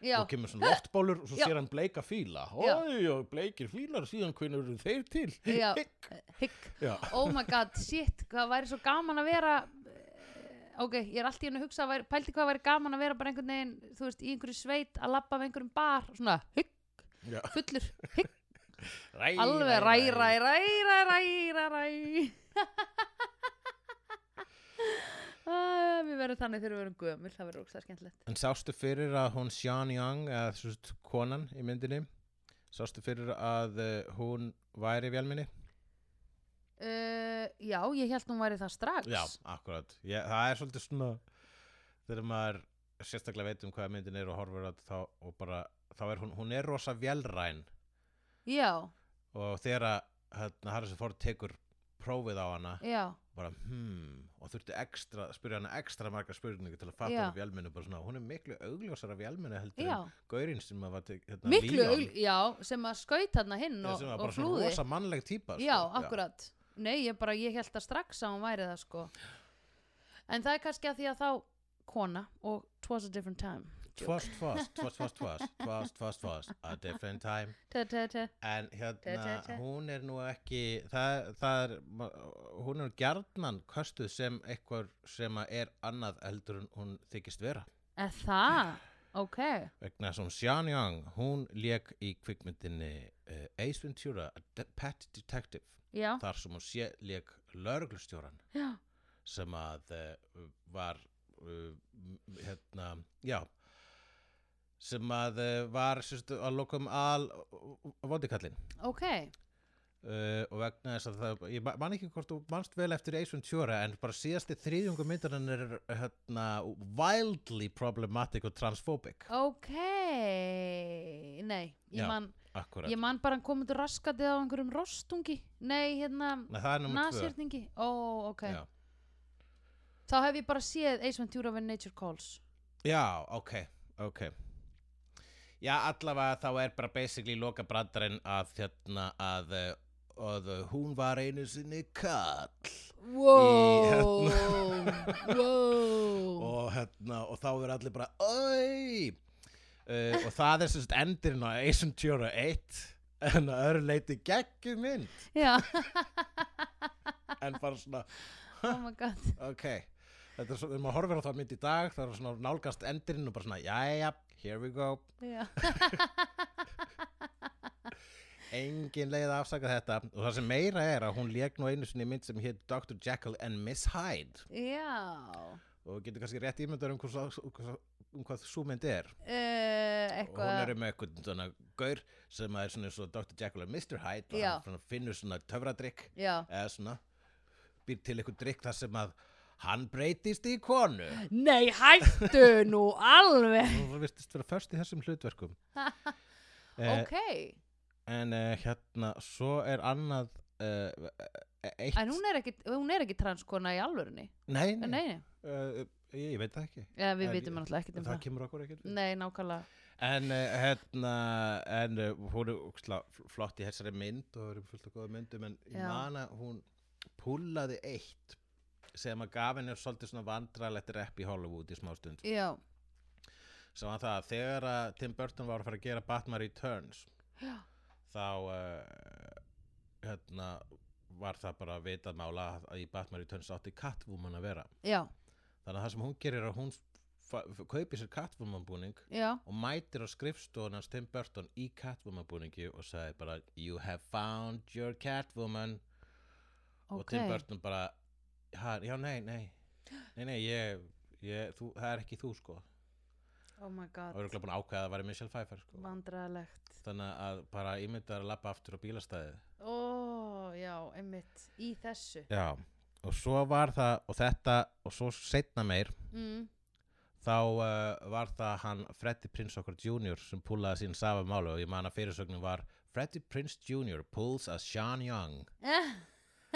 Speaker 2: já,
Speaker 1: og kemur svona loftbólur og svo
Speaker 2: Já.
Speaker 1: sér hann bleika fíla,
Speaker 2: Já.
Speaker 1: oi og bleikir fílar síðan hvernig eru þeir til
Speaker 2: Já.
Speaker 1: hikk,
Speaker 2: hygg.
Speaker 1: já
Speaker 2: Oh my god, shit, hvað væri svo gaman að vera... eh, Ok, ég er allt í henni að hugsa, að væri, pældi hvað væri gaman að vera bara einhvern veginn, þú veist, í einhverju sveit að labba af einhverjum bar, svona, hygg,
Speaker 1: Já.
Speaker 2: fullur,
Speaker 1: Ræ,
Speaker 2: alveg ræ, ræ, ræ, ræ, ræ, ræ, ræ. Æ, Við verðum þannig þegar við verðum gömul, það verður ógstað skemmtilegt.
Speaker 1: En sástu fyrir að hún Sean Young, eða þú veist, konan í myndinni, sástu fyrir að uh, hún væri vélminni?
Speaker 2: Uh, já, ég held hún væri það strax.
Speaker 1: akkurat. Ég, það er svolítið svona, þegar maður sérstaklega veit um hvaða myndin er og horfur að þá, og bara, þá er hún, hún er rosa vélræn
Speaker 2: Já,
Speaker 1: og þegar að, hérna, Harrison Ford tekur prófið á hana,
Speaker 2: já,
Speaker 1: bara hmm, og þurfti ekstra, spyrja hana ekstra marga spurningu til að fatta
Speaker 2: Já.
Speaker 1: hún vélminni, bara svona, hún er miklu augljósara vélminni heldur
Speaker 2: já.
Speaker 1: en gaurinn sem að var, te- hérna,
Speaker 2: Miklu,
Speaker 1: Leon.
Speaker 2: augl- já, sem að skaut hann hinn
Speaker 1: Já,
Speaker 2: og,
Speaker 1: sem var
Speaker 2: og
Speaker 1: bara svona
Speaker 2: flúði.
Speaker 1: rosa mannleg típa
Speaker 2: Já,
Speaker 1: sko.
Speaker 2: akkurat. Nei, ég bara, ég held það strax að hún væri það, sko. En það er kannski að því að þá kona og twas a different time.
Speaker 1: Twas, twas, twas, twas, twas Twas, twas, twas, a different time
Speaker 2: Te, te, te.
Speaker 1: En
Speaker 2: Te, te,
Speaker 1: hérna,
Speaker 2: te.
Speaker 1: hún er nú ekki það, það er ma- hún er gjarnan köstuð sem eitthvað sem að er annað eldur en hún þykist vera
Speaker 2: Er það? Ok.
Speaker 1: vegna sem Sean Young, hún lék í kvikmyndinni uh, Ace Ventura, a de Pet Detective
Speaker 2: Já,
Speaker 1: þar sem hún sé lék lörglustjóran
Speaker 2: já.
Speaker 1: sem að uh, var uh, m- hérna, já sem að uh, var sérst, að lokum al vondikallin
Speaker 2: Ok,
Speaker 1: uh, og vegna þess að það, ég ma- man ekki hvort þú manst vel eftir Eisund Sjóra en bara síðasti þriðjungu myndarinn er hérna, wildly problematic og transphobic
Speaker 2: ok Nei, ég
Speaker 1: Já,
Speaker 2: man,
Speaker 1: akkurat,
Speaker 2: ég man bara hann komið raskatið á einhverjum rostungi Nei, hérna,
Speaker 1: Nei, það er nummer tvö
Speaker 2: nasýrningi Ó, ok
Speaker 1: já.
Speaker 2: Þá hef ég bara séð Ace Ventura when Nature Calls
Speaker 1: já, ok, ok já, allavega þá er bara basically loka brandarinn að hérna að, uh, að uh, hún var einu sinni kall
Speaker 2: Wow, wow.
Speaker 1: og, hérna, og þá verður allir bara Oi! Uh, og það er semst endirinn á Ace Ventura 1 en að öðru leiti geggjum mynd
Speaker 2: Já,
Speaker 1: en bara svona,
Speaker 2: oh my god
Speaker 1: ok þetta er svo, þegar maður horfir á það mynd í dag það er svona nálgast endurinn og bara svona jæja, here we go,
Speaker 2: Já.
Speaker 1: engin leið að afsaka þetta og það sem meira er að hún lék nú einu sinni í mynd sem hétt Dr. Jekyll and Miss Hyde
Speaker 2: Já.
Speaker 1: og getur kannski rétt ímyndar um, hvers, um hvað svo mynd er
Speaker 2: Uh,
Speaker 1: og hún
Speaker 2: eitthvað
Speaker 1: er um eitthvað svona gaur sem er svona eins og Dr. Jekyll and Mr. Hyde og
Speaker 2: Já.
Speaker 1: hann svona finnur svona töfradrykk
Speaker 2: Já.
Speaker 1: eða svona býr til eitthvað drykk þar sem að hann breytist í konu
Speaker 2: Nei, hættu nú alveg
Speaker 1: og það virtist vera först í þessum hlutverkum eh,
Speaker 2: Ok,
Speaker 1: en eh, hérna svo er annað eh, eh, eitt
Speaker 2: en hún er ekki, hún er ekki transkona í alvörunni
Speaker 1: nei,
Speaker 2: Nei,
Speaker 1: nei,
Speaker 2: nei, nei.
Speaker 1: eh, ég, ég veit það ekki
Speaker 2: Ja, við
Speaker 1: En-
Speaker 2: vitum náttúrulega ekkert um
Speaker 1: það
Speaker 2: það
Speaker 1: kemur okkur ekkert við.
Speaker 2: Nei, nákvæmlega
Speaker 1: en uh, hérna en uh, hún er óksla flott í þessari mynd og það eru fullt af góða myndum en ég
Speaker 2: Já.
Speaker 1: man að hún púlaði eitt sem að gaf henni svolítið svona vandralegt rep í Hollywood í smástund
Speaker 2: Já,
Speaker 1: sem var það að þegar að Tim Burton var að fara að gera Batman Returns
Speaker 2: Já.
Speaker 1: þá uh, hérna var það bara að vita mála að í Batman Returns átti Catwoman að vera
Speaker 2: já,
Speaker 1: þannig að það sem hún gerir er að hún fa- f- kaupir sér Catwoman búning
Speaker 2: já
Speaker 1: og mætir á skrifstofun hans Tim Burton í Catwoman búningi og sagði bara You have found your Catwoman og
Speaker 2: Ok,
Speaker 1: Tim Burton bara "Ha, já nei, nei, nei, nei ég, ég, þú, það er ekki þú sko
Speaker 2: oh my
Speaker 1: og
Speaker 2: god,
Speaker 1: eru búin að ákveða að það væri Michelle Pfeiffer sko
Speaker 2: vandræðalegt
Speaker 1: þannig að bara ímyndar að lappa aftur á bílastæði
Speaker 2: Ó, já, einmitt, í þessu
Speaker 1: já, og svo var það og þetta, og svo setna meir
Speaker 2: mm.
Speaker 1: þá uh, var það hann Freddy Prince okkur Jr. sem púlaði sín safa málu og ég man að fyrirsögnum var Freddy Prince Jr. pulls a Sean Young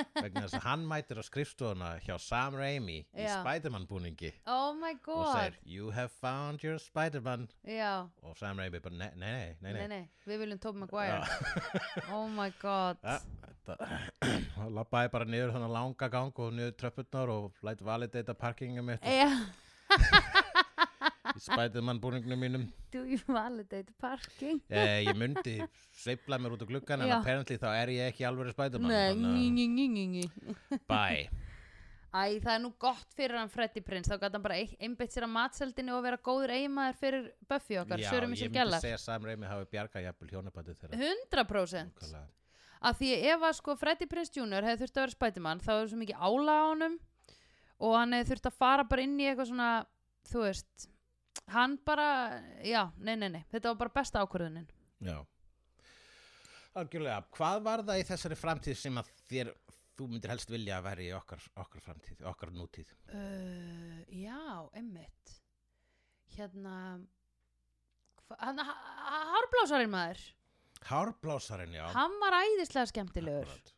Speaker 2: Eh,
Speaker 1: vegna þess að hann mætir á skrifstofuna hjá Sam Raimi í
Speaker 2: Já.
Speaker 1: Spiderman búningi
Speaker 2: Oh my
Speaker 1: og
Speaker 2: god
Speaker 1: segir You have found your Spiderman
Speaker 2: Já,
Speaker 1: og Sam Raimi bara nei, nei, nei, nei,
Speaker 2: nei,
Speaker 1: nei.
Speaker 2: nei, við viljum Tobey
Speaker 1: Já.
Speaker 2: Maguire Oh my god
Speaker 1: Ja, þetta, hann lappaði bara niður þannig langa gang og niður tröppurnar og læt validata parkingum mitt
Speaker 2: Já,
Speaker 1: í Spiderman búningnum mínum
Speaker 2: do you validate parking?
Speaker 1: eh, ég mundi sveifla mér út á gluggan en
Speaker 2: Já.
Speaker 1: apparently þá er ég ekki alveg Spiderman
Speaker 2: Nei, ný,
Speaker 1: þannig
Speaker 2: ný, ný, ný, ný
Speaker 1: að- bye
Speaker 2: Æ, það er nú gott fyrir hann Freddy Prince þá gæti hann bara ein- einbeitt sér að matseldinu og vera góður eiginmaður fyrir Buffy okkar,
Speaker 1: Já, ég
Speaker 2: Sörum í sér
Speaker 1: myndi
Speaker 2: gælar
Speaker 1: segja að Sam Raimi hafi bjarga jafnvel hjónabætið þeirra
Speaker 2: 100%
Speaker 1: Nákvæmlega.
Speaker 2: af því ef að sko Freddy Prince Jr. hefði þurft að vera spætimann þá er svo mikið ála á honum og hann hefði þurft að fara bara inn í eitthvað svona þú veist hann bara, já, nei, nei, nei þetta var bara besta ákvörðunin
Speaker 1: Já Algjörlega, hvað var það í þessari framtíð sem að þér, þú myndir helst vilja að vera í okkar, okkar framtíð, okkar nútíð
Speaker 2: uh, já, emmitt hérna hva- hann, hárblásarinn maður
Speaker 1: Hárblásarinn, já
Speaker 2: hann var æðislega skemmtilegur
Speaker 1: Akkurat.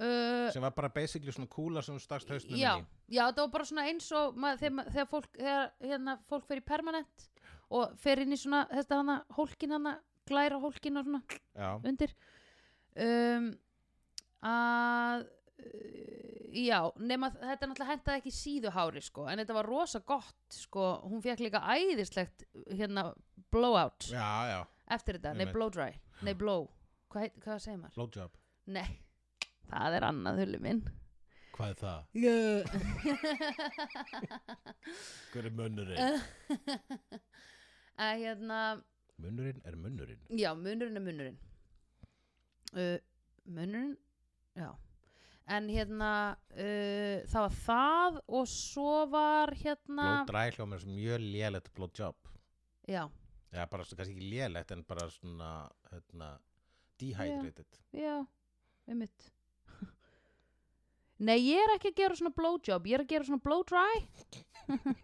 Speaker 2: uh,
Speaker 1: sem var bara basically svona kúla sem þú stakst hausnum
Speaker 2: já,
Speaker 1: inn í
Speaker 2: já, það var bara svona eins og maður, þegar, ma- þegar fólk þegar hérna, fólk fer í permanent og fer inn í svona þetta hana, hólkin hana glæra hólkin og svona
Speaker 1: Já,
Speaker 2: undir um, að uh, já, nema þetta náttúrulega hentaði ekki síðuhári sko, en þetta var rosa gott sko, hún fekk líka æðislegt hérna blowout
Speaker 1: já, já,
Speaker 2: eftir þetta, nei
Speaker 1: Einmitt.
Speaker 2: blow dry nei blow, hvað, heit- hvað segir maður?
Speaker 1: blowjob
Speaker 2: Nei, það er annað hullu minn
Speaker 1: Hvað er það? Hver er munnurinn?
Speaker 2: að hérna
Speaker 1: Munnurinn er munnurinn
Speaker 2: já, munurinn er munurinn uh, munurinn já, en hérna uh, það var það og svo var hérna
Speaker 1: Blowdry hljóma er mjög lélegt blowjob
Speaker 2: já,
Speaker 1: Já, bara svona, kannski ekki lélegt en bara svona, hérna, dehydrated
Speaker 2: já, einmitt nei, ég er ekki að gera svona blowjob, ég er að gera svona blow dry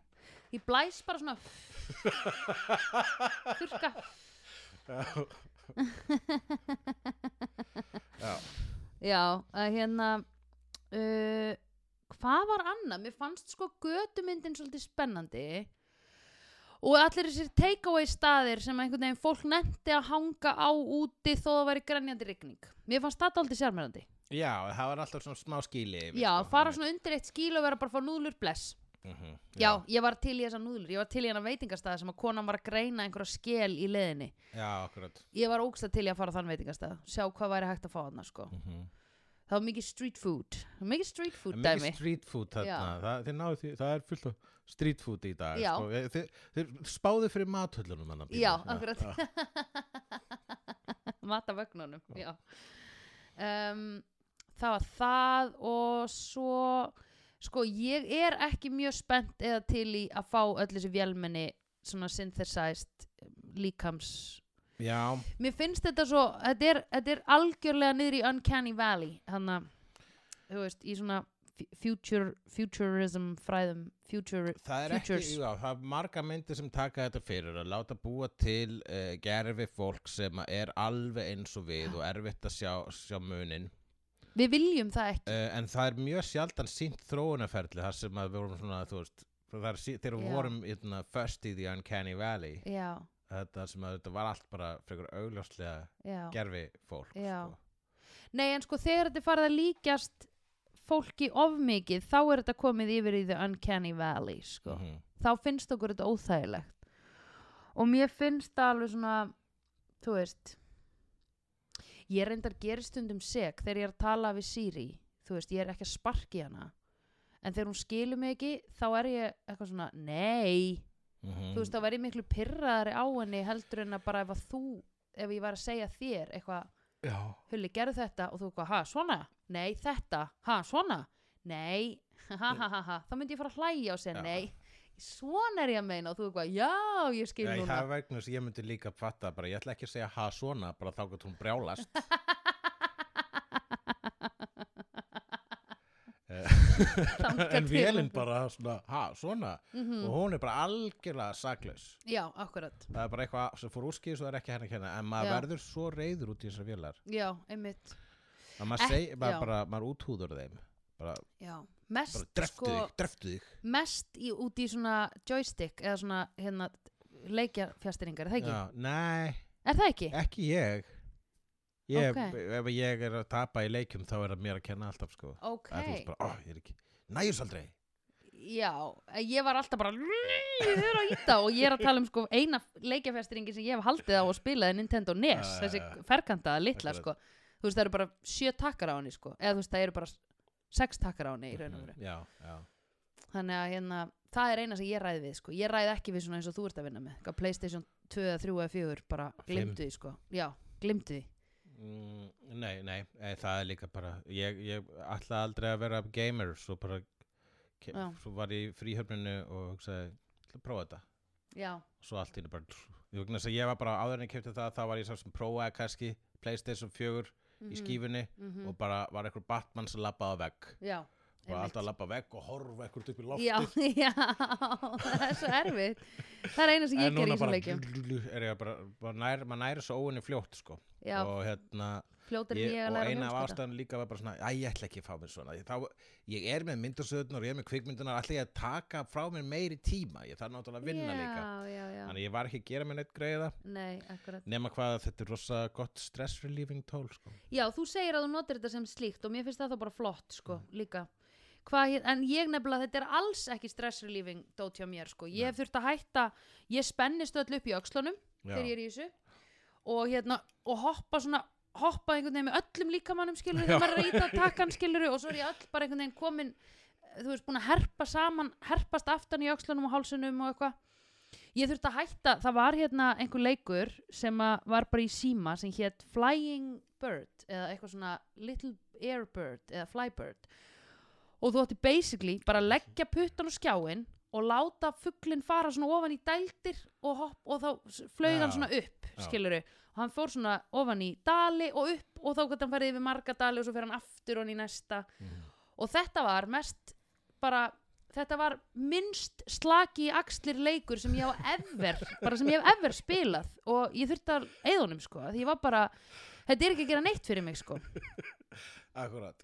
Speaker 2: ég blæs bara svona þurka
Speaker 1: Já,
Speaker 2: Já, að hérna uh, hvað var annað? Mér fannst sko götumyndin svolítið spennandi og allir þessir takeaway staðir sem einhvern veginn fólk nefndi að hanga á úti þó að væri grænjandi rigning. Mér fannst þetta aldrei sérmærandi.
Speaker 1: já það var alltaf svona smá skíli yfir,
Speaker 2: Já,
Speaker 1: sko,
Speaker 2: fara
Speaker 1: einmitt.
Speaker 2: svona undir eitt skíl og vera bara að fá núðlur bless.
Speaker 1: Mhm,
Speaker 2: Já, ég var til í þessar núðlur, ég var til í hennar veitingastað sem að konan var að greina einhverja skel í leðinni.
Speaker 1: Já, akkurat
Speaker 2: Ég var ógsta til í að fara á þann veitingastað, sjá hvað væri hægt að fá hann, sko.
Speaker 1: Mhm.
Speaker 2: það var mikið street food mikið street food
Speaker 1: En
Speaker 2: dæmi
Speaker 1: mikið street food þarna
Speaker 2: Já.
Speaker 1: það, þeir náðu því, það er fullt af street food í dag
Speaker 2: Já.
Speaker 1: sko. Eh, þeir, þeir spáðu fyrir mathöllunum hennar Bíbí.
Speaker 2: Já,
Speaker 1: Já,
Speaker 2: akkurat.
Speaker 1: já.
Speaker 2: matavögnunum já. Um, það var það og svo sko ég er ekki mjög spennt eða til í að fá öll þessi vélmenni svona synthesized um, líkams
Speaker 1: já,
Speaker 2: mér finnst þetta svo þetta er, þetta er algjörlega niður í Uncanny Valley þannig að þú veist í svona fu- future, futurism fræðum future,
Speaker 1: það er
Speaker 2: Futures.
Speaker 1: ekki, já, það er marga myndir sem taka þetta fyrir að láta búa til uh, gerfi fólk sem að er alveg eins og við og erfitt að sjá, sjá munin
Speaker 2: við viljum það ekki
Speaker 1: uh, en það er mjög sjaldan sínt þróunaferli þar sem að við vorum svona, þú veist það er sí- þegar við
Speaker 2: Já.
Speaker 1: vorum eitna, first í The Uncanny Valley
Speaker 2: já,
Speaker 1: þetta sem að þetta var allt bara frekar augljóslega
Speaker 2: já
Speaker 1: gerfi fólk
Speaker 2: Já.
Speaker 1: sko.
Speaker 2: Nei, en sko þegar þetta er farið að líkjast fólki of mikið, þá er þetta komið yfir í the uncanny valley, sko.
Speaker 1: Mhm.
Speaker 2: Þá finnst okkur þetta óþægilegt. Og mér finnst það alveg svona, þú veist, ég reyndar gerist stundum seg þegar ég er að tala við Siri, þú veist, ég er ekki að sparki hana. En þegar hún skilur mig ekki, þá er ég eitthvað svona, nei,
Speaker 1: Mhm.
Speaker 2: þú veist, þá væri ég miklu pyrraðari á henni heldur en að bara ef að þú, ef ég var að segja þér eitthvað,
Speaker 1: Já.
Speaker 2: Hulli, gerðu þetta og þú eitthvað, ha, svona? Nei, þetta, ha, svona? Nei, ha, ha, ha, ha, ha, þá myndi ég fara að hlæja og segja,
Speaker 1: Já.
Speaker 2: nei, svona er ég að meina og þú eitthvað, já, ég skil
Speaker 1: Nei,
Speaker 2: núna.
Speaker 1: það er vegna þess að ég myndi líka fatta bara, ég ætla ekki að segja ha svona, bara þá gott hún brjálast Eh,
Speaker 2: Þangað
Speaker 1: en
Speaker 2: til
Speaker 1: vélinn
Speaker 2: hún- Mm.
Speaker 1: bara svona, ha svona og hún er bara algjörlega saklaus
Speaker 2: Já, akkurat,
Speaker 1: það er bara eitthvað sem fór úrskýðis og það er ekki henni að kenna en maður
Speaker 2: Já.
Speaker 1: verður svo reyður út í þessar vélar
Speaker 2: já, einmitt,
Speaker 1: að maður,
Speaker 2: Ek-
Speaker 1: seg,
Speaker 2: já.
Speaker 1: maður, bara, maður úthúður þeim bara,
Speaker 2: já.
Speaker 1: bara
Speaker 2: Mest,
Speaker 1: dreftu
Speaker 2: sko,
Speaker 1: þig, dreftu þig
Speaker 2: mest í, út í svona joystick eða svona, hérna, leikjafjastýringar, er það ekki?
Speaker 1: Já, nei,
Speaker 2: Er það ekki?
Speaker 1: ekki ég ég,
Speaker 2: Ok.
Speaker 1: ef ég er að tapa í leikjum þá er það mér að kenna alltaf sko
Speaker 2: Ok,
Speaker 1: Það er þú veist bara, ó, ég er ekki, næjus aldrei
Speaker 2: já, ég var alltaf bara, ég þurfa að íta og ég er að tala um sko eina leikjafjastýringi sem ég hef haldið á að spila er Nintendo NES,
Speaker 1: Já, já,
Speaker 2: þessi
Speaker 1: já.
Speaker 2: ferkantaða litla sko,
Speaker 1: Akkurat.
Speaker 2: þú veist það eru bara sjö takkar á henni sko, eða þú veist það eru bara sex takkar á henni í raun og veru,
Speaker 1: Já, já Mhm.
Speaker 2: þannig að hérna, það er eina sem ég ræði við sko, ég ræði ekki við svona eins og þú ert að vinna með, eitthvað Playstation 2, 3 eða 4 bara
Speaker 1: Fimm.
Speaker 2: glimtu því sko, já, glimtu því,
Speaker 1: mm, Nei, nei, e, það er líka bara ég, ég ætla aldrei að vera gamer svo bara ke,
Speaker 2: Já.
Speaker 1: svo var ég í fríhörninu og hugsaði, ætla að prófa þetta
Speaker 2: já,
Speaker 1: svo allt í einu bara ég, vegna þess að ég var bara áður en ég kefti það þá var ég sá sem prófaði kannski Playstation 4 í skífunni
Speaker 2: mhm,
Speaker 1: og bara var einhver Batman sem labbaði á vegg
Speaker 2: já,
Speaker 1: og var alltaf að labba vegg og horfa ekkert upp í loftið
Speaker 2: Já, já, það er svo erfitt Það er eina sem ég
Speaker 1: en
Speaker 2: ger í
Speaker 1: núna
Speaker 2: þessum
Speaker 1: bara,
Speaker 2: leikjum
Speaker 1: er ég bara, bara nær, maður næri svo óinni fljótt sko.
Speaker 2: Já,
Speaker 1: og hérna
Speaker 2: fljótar en
Speaker 1: ég,
Speaker 2: ég að
Speaker 1: og
Speaker 2: læra
Speaker 1: eina af
Speaker 2: heimskata.
Speaker 1: ástæðan líka var bara svona að ég ætla ekki að fá mér svona ég, þá, ég er með myndasöðunar og ég er með kvikmyndunar ætla ég að taka frá mér meiri tíma ég þarf náttúrulega að vinna líka
Speaker 2: Já, já, já,
Speaker 1: þannig að ég var ekki að gera mér neitt greiða
Speaker 2: nei, akkurat
Speaker 1: nema hvað að þetta er rosa gott stress relieving tól sko.
Speaker 2: Já, þú segir að þú notir þetta sem slíkt og mér finnst það þá bara flott, sko, líka Hvað, hér- en ég nefnilega, þetta er alls ekki stress relieving dót hjá mér, sko Ég hef þurft að hætta, ég spennist öll upp í öxlunum
Speaker 1: Já.
Speaker 2: þegar ég er í þessu og hérna, og hoppa svona hoppa einhvern veginn með öllum líkamannum skilur
Speaker 1: Já.
Speaker 2: þegar maður er að íta takkan skilur og svo er ég öll bara einhvern veginn komin eh, þú veist, búin að herpa saman herpast aftan í öxlunum og hálsunum og eitthvað ég þurfti að hætta, það var hérna einhver leikur sem að var bara í síma sem hétt Flying Bird eða eitthvað svona Little Airbird eða Flybird og þú ætti basically bara að leggja puttan og skjáin og láta fugglinn fara svona ofan í dældir og hopp og þá flög hann
Speaker 1: Já.
Speaker 2: svona upp,
Speaker 1: Já.
Speaker 2: skiluru og hann fór svona ofan í dali og upp og þá gæti hann farið yfir marga dali og svo fer hann aftur og í næsta
Speaker 1: Mhm.
Speaker 2: og þetta var mest bara þetta var minnst slaki í axlir leikur sem ég á ever bara sem ég hef ever spilað og ég þurfti að eðunum sko því ég var bara, þetta er ekki að gera neitt fyrir mig sko
Speaker 1: Akkurat.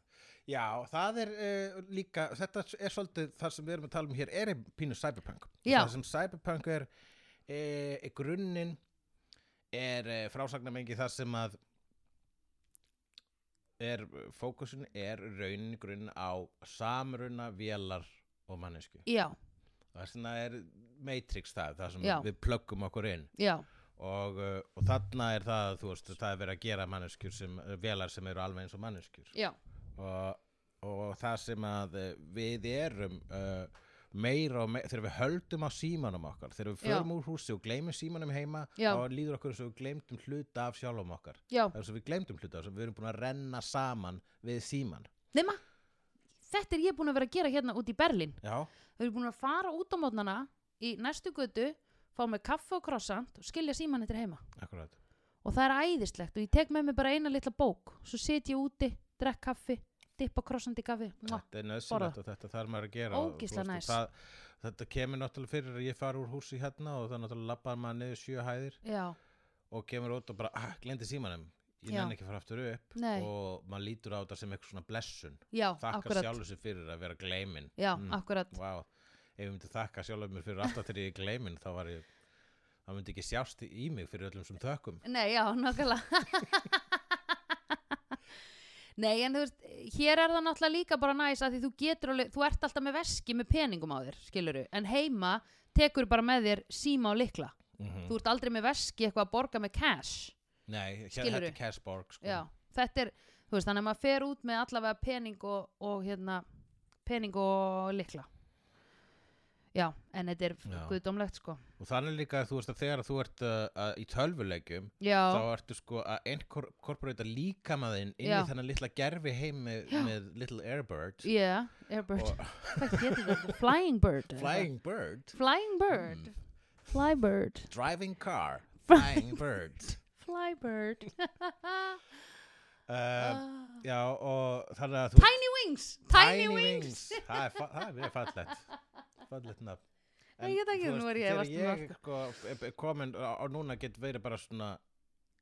Speaker 1: Já, það er uh, líka, þetta er svolítið það sem við erum að tala um hér er ein pínu cyberpunk.
Speaker 2: Já.
Speaker 1: Það sem cyberpunk er, uh, er grunninn er uh, frásagnamengi það sem að er, fókusin er raunin grunn á samruna, vélar og mannesku.
Speaker 2: já,
Speaker 1: Það er svona er Matrix það, það sem
Speaker 2: Já.
Speaker 1: við plöggum okkur inn
Speaker 2: já,
Speaker 1: og, uh, og eh, þarna er það, þú veist, það er verið að gera manneskjur sem, vélar sem eru alveg eins og manneskjur
Speaker 2: já,
Speaker 1: og, og, og það sem að eh, við erum uh, meira og meira, þegar við höldum á símanum okkar, þegar við
Speaker 2: Já.
Speaker 1: förum úr húsi og gleymum símanum heima,
Speaker 2: Já.
Speaker 1: þá líður okkur eins og við gleymdum hluta af sjálfum okkar
Speaker 2: já,
Speaker 1: það er svo við gleymdum hluta af þessu, við erum búin að renna saman við síman
Speaker 2: nema þetta er ég búin að vera að gera hérna út í Berlín
Speaker 1: já,
Speaker 2: þau eru búin að fara út á mótnana í næstu götu, fá með kaffe og krossant og skilja síman eftir heima
Speaker 1: akkurat
Speaker 2: og það er æðislegt og ég tek með mig bara eina litla bók svo set ég úti, drekk kaffi dippa krossant í kaffi Mwah.
Speaker 1: þetta er nöðsynlegt og þetta þarf maður að gera og,
Speaker 2: Ógeðslega
Speaker 1: þú
Speaker 2: næs.
Speaker 1: veist, og það, þetta kemur náttúrulega fyrir að ég fara úr húsi hérna og það náttúrulega lappar maður niður sjö hæðir
Speaker 2: já,
Speaker 1: og kemur út og bara, ah, gleymdi símanum ég
Speaker 2: Já.
Speaker 1: nenni ekki að fara aftur upp
Speaker 2: Nei.
Speaker 1: og maður lítur á þetta sem eitthvað svona blessun
Speaker 2: já,
Speaker 1: þakka
Speaker 2: akkurat
Speaker 1: sjálfur sér fyrir að vera gleimin
Speaker 2: já,
Speaker 1: Mm.
Speaker 2: akkurat,
Speaker 1: Vá, ef ég myndi þakka sjálfur mér fyrir alltaf þegar ég er gleimin þá var ég það myndi ekki sjást í í mig fyrir öllum sem þökkum
Speaker 2: nei, já, nákvæmlega Nei, en þú veist, hér er það náttúrulega líka bara næs að því þú getur alveg, þú ert alltaf með veski með peningum á þér, skiluru, en heima tekur bara með þér síma og likla.
Speaker 1: mm
Speaker 2: Þú ert aldrei með veski eitthvað að borga með cash.
Speaker 1: Nei, hér,
Speaker 2: Skilurðu?
Speaker 1: þetta er Cashborg sko.
Speaker 2: Já, þetta er, þú veist, þannig að maður fer út með allavega pening og, og hérna, pening og likla. Já, en þetta er
Speaker 1: Já.
Speaker 2: guðdómlegt, sko.
Speaker 1: og þannig líka þú veist að þegar þú ert uh, að, í tölvuleikjum
Speaker 2: Já,
Speaker 1: þá ertu sko að inkorporata líkamaðinn inn
Speaker 2: Já.
Speaker 1: í þennan litla gerfi heim með,
Speaker 2: Já.
Speaker 1: með Little Airbird
Speaker 2: yeah, airbird.
Speaker 1: og
Speaker 2: Hvað getur þetta? Flying bird. eða
Speaker 1: Flying Bird,
Speaker 2: eitthvað?
Speaker 1: Mm.
Speaker 2: Flying bird. Flybird.
Speaker 1: Driving Car Flying Bird
Speaker 2: Flybird.
Speaker 1: uh,
Speaker 2: Ah.
Speaker 1: Já og þannig að þú
Speaker 2: Tiny wings. Tiny, wings.
Speaker 1: Það er, fa það er mjög fallegt Fallegt nafn
Speaker 2: Nei, ég veit ekki, nú er ég
Speaker 1: þegar
Speaker 2: efast um það,
Speaker 1: ég sko, er- er komin á, á núna get verið bara svona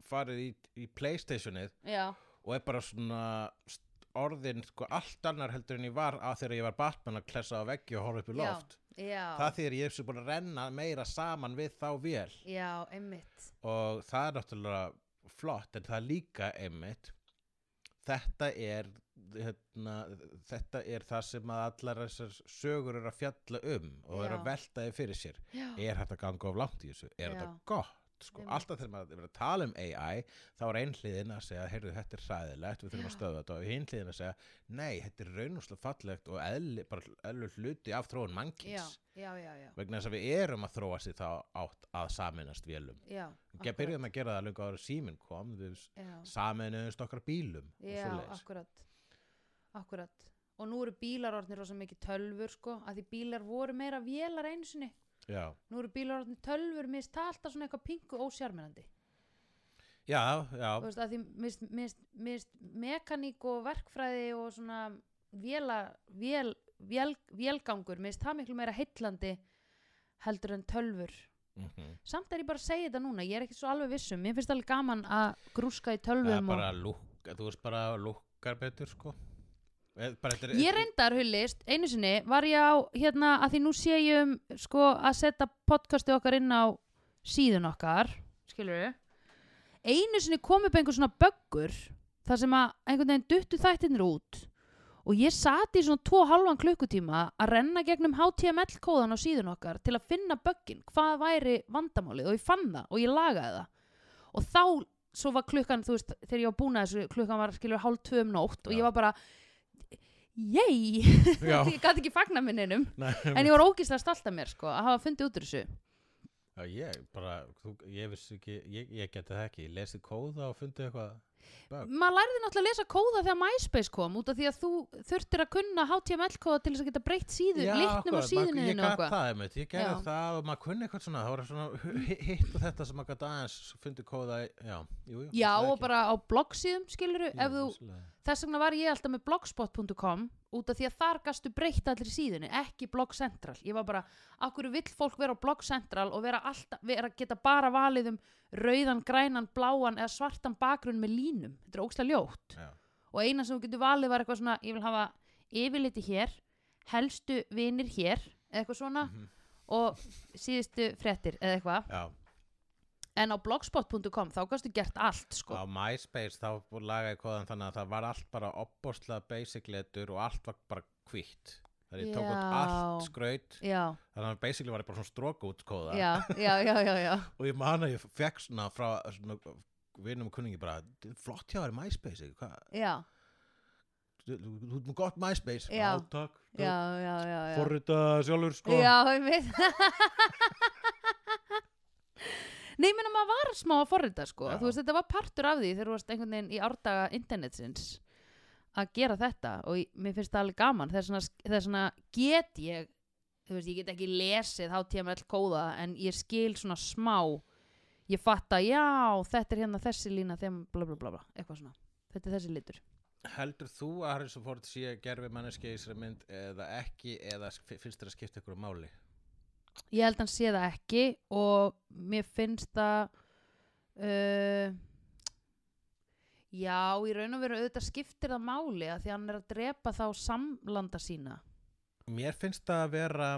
Speaker 1: farið í, í Playstationið
Speaker 2: Já,
Speaker 1: og er bara svona st- orðin sko allt annar heldur en ég var að þegar ég var Batman að klessa á veggi og horfa upp í
Speaker 2: Já.
Speaker 1: loft
Speaker 2: já.
Speaker 1: það þýðir ég er svo búin að renna meira saman við þá vel
Speaker 2: Já, einmitt.
Speaker 1: og það er náttúrulega flott en það er líka einmitt þetta er hérna, þetta er það sem að allar þessar sögur eru að fjalla um og eru
Speaker 2: Já.
Speaker 1: að velta þið fyrir sér
Speaker 2: Já.
Speaker 1: er þetta ganga of langt í þessu,
Speaker 2: Já.
Speaker 1: er þetta gott sko,
Speaker 2: Einmitt.
Speaker 1: alltaf þegar maður er að tala um AI þá er ein hliðin að segja, heyrðu þetta er sæðilegt við þurfum að
Speaker 2: Já.
Speaker 1: stöða þetta og hinn hliðin að segja nei, þetta er raunúslega fallegt og eðli, bara eðlu hluti af þróun
Speaker 2: Já,
Speaker 1: mannkins
Speaker 2: já, já, já.
Speaker 1: vegna þess að við erum að þróa sér þá átt að saminast vélum
Speaker 2: Já,
Speaker 1: við byrjuðum að gera það löngu ára síminn kom við
Speaker 2: Já.
Speaker 1: saminuðumst okkar bílum og
Speaker 2: Já,
Speaker 1: svoleiðis.
Speaker 2: akkurat Akkurat Og nú eru bílar orðnir rosa mikið tölfur sko að því bílar voru meira vélar einu sinni
Speaker 1: já.
Speaker 2: Nú eru bílar orðnir tölfur Mér finnst það alltaf svona eitthvað pingu ósjarmerandi
Speaker 1: já,
Speaker 2: Þú
Speaker 1: já,
Speaker 2: veist að því mér finnst- mér finnst- mér finnst mekaník og verkfræði og svona véla, vél, vél, vélgangur Mér finnst það miklu meira heillandi heldur en tölfur
Speaker 1: mhm.
Speaker 2: Samt er ég bara að segja þetta núna Ég er ekki svo alveg vissum Mér finnst alveg gaman að grúska í
Speaker 1: það er
Speaker 2: tölvum og...
Speaker 1: bara lúk þú veist bara lúkkar betur sko Eh, bara, þetta er,
Speaker 2: Ég reyndar hullist, einu sinni var ég á hérna að því nú sé ég um sko að setja podcastið okkar inn á síðun okkar, skilur við einu sinni kom upp einhver svona böggur þar sem að einhvern veginn duttu þættinir út og ég sati í svona tvo halvan klukkutíma að renna gegnum HTML kóðan á síðun okkar til að finna böggin, hvað væri vandamálið og ég fann það og ég lagaði það og þá, svo var klukkan þú veist, þegar ég var búin að þessu klukkan var skilur hálf tvö um nótt og
Speaker 1: Já.
Speaker 2: ég var bara yey
Speaker 1: Já.
Speaker 2: ég gæti ekki fagna minninum
Speaker 1: Nei,
Speaker 2: en ég var ógislega stolt af mér sko að hafa fundið út úr þessu
Speaker 1: Já, ég bara, þú, ég vissi ekki, ég, ég geti það ekki, ég lesi kóða og fundi eitthvað. bug.
Speaker 2: maður lærði náttúrulega að lesa kóða þegar MySpace kom út af því að þú þurftir að kunna HTML kóða til þess að geta breytt síðu líknum á
Speaker 1: akkurat,
Speaker 2: síðunni
Speaker 1: maður- ég
Speaker 2: þínu og
Speaker 1: gat
Speaker 2: eitthvað
Speaker 1: það, einmitt, ég gerði
Speaker 2: Já.
Speaker 1: það og maður kunni eitthvað svona, það var svona hu- hi- hitt og þetta sem maður gæti aðeins fundi kóða, í- já, jú, jú.
Speaker 2: já
Speaker 1: það
Speaker 2: og
Speaker 1: ekki.
Speaker 2: bara á bloggsíðum skiluru
Speaker 1: Jú,
Speaker 2: ef þú,
Speaker 1: vissulega.
Speaker 2: þess vegna var ég alltaf með blogspot.com út af því að þar gastu breytt allir síðunni ekki blog central ég var bara, akkur vill fólk vera á blog central og vera alltaf, vera geta bara valið um rauðan, grænan, bláan eða svartan bakgrunn með línum þetta er ógislega ljótt
Speaker 1: Já.
Speaker 2: og eina sem þú getur valið var eitthvað svona ég vil hafa yfirliti hér helstu vinir hér eða eitthvað svona
Speaker 1: Mhm.
Speaker 2: og síðustu fréttir eða eitthvað
Speaker 1: Já,
Speaker 2: en á blogspot.com þá kannstu gert allt sko.
Speaker 1: á MySpace þá lagaði kóðan þannig að það var allt bara opbórslega basic letur og allt var bara hvitt. Það er ég tók út
Speaker 2: Já.
Speaker 1: allt skraut,
Speaker 2: já,
Speaker 1: þannig að basically var ég bara svona stróka út kóða.
Speaker 2: já, já, já, já, já
Speaker 1: og ég man að ég fekk svona frá svona, vinum og kunningi bara "Þetta er flott hjá þér MySpace ekki? Hvað-
Speaker 2: já,
Speaker 1: þú þú þú- þú ert með gott MySpace
Speaker 2: Já.
Speaker 1: takk,
Speaker 2: já, já, já, já.
Speaker 1: forrita sjálfur sko
Speaker 2: Já, einmitt Nei, ég meina maður var smá að forrita sko
Speaker 1: Já.
Speaker 2: Þú veist, þetta var partur af því þegar þú varst einhvern veginn í árdaga internetsins að gera þetta og ég, mér finnst það alveg gaman þegar svona, þegar svona get ég þú veist, ég get ekki lesið HTML kóða en ég skil svona smá ég fatta, já, þetta er hérna þessi lína þegar, bla bla bla, bla eitthvað svona, þetta er þessi litur
Speaker 1: heldur þú að Harrison Ford sé gerfi manneski í þessari mynd eða ekki eða sk- finnst þér að skipta ykkur máli
Speaker 2: ég held að hann sé það ekki og mér finnst það uh, já, í raun og veru auðvitað skiptir það máli að því að hann er að drepa þá samlanda sína
Speaker 1: mér finnst það að vera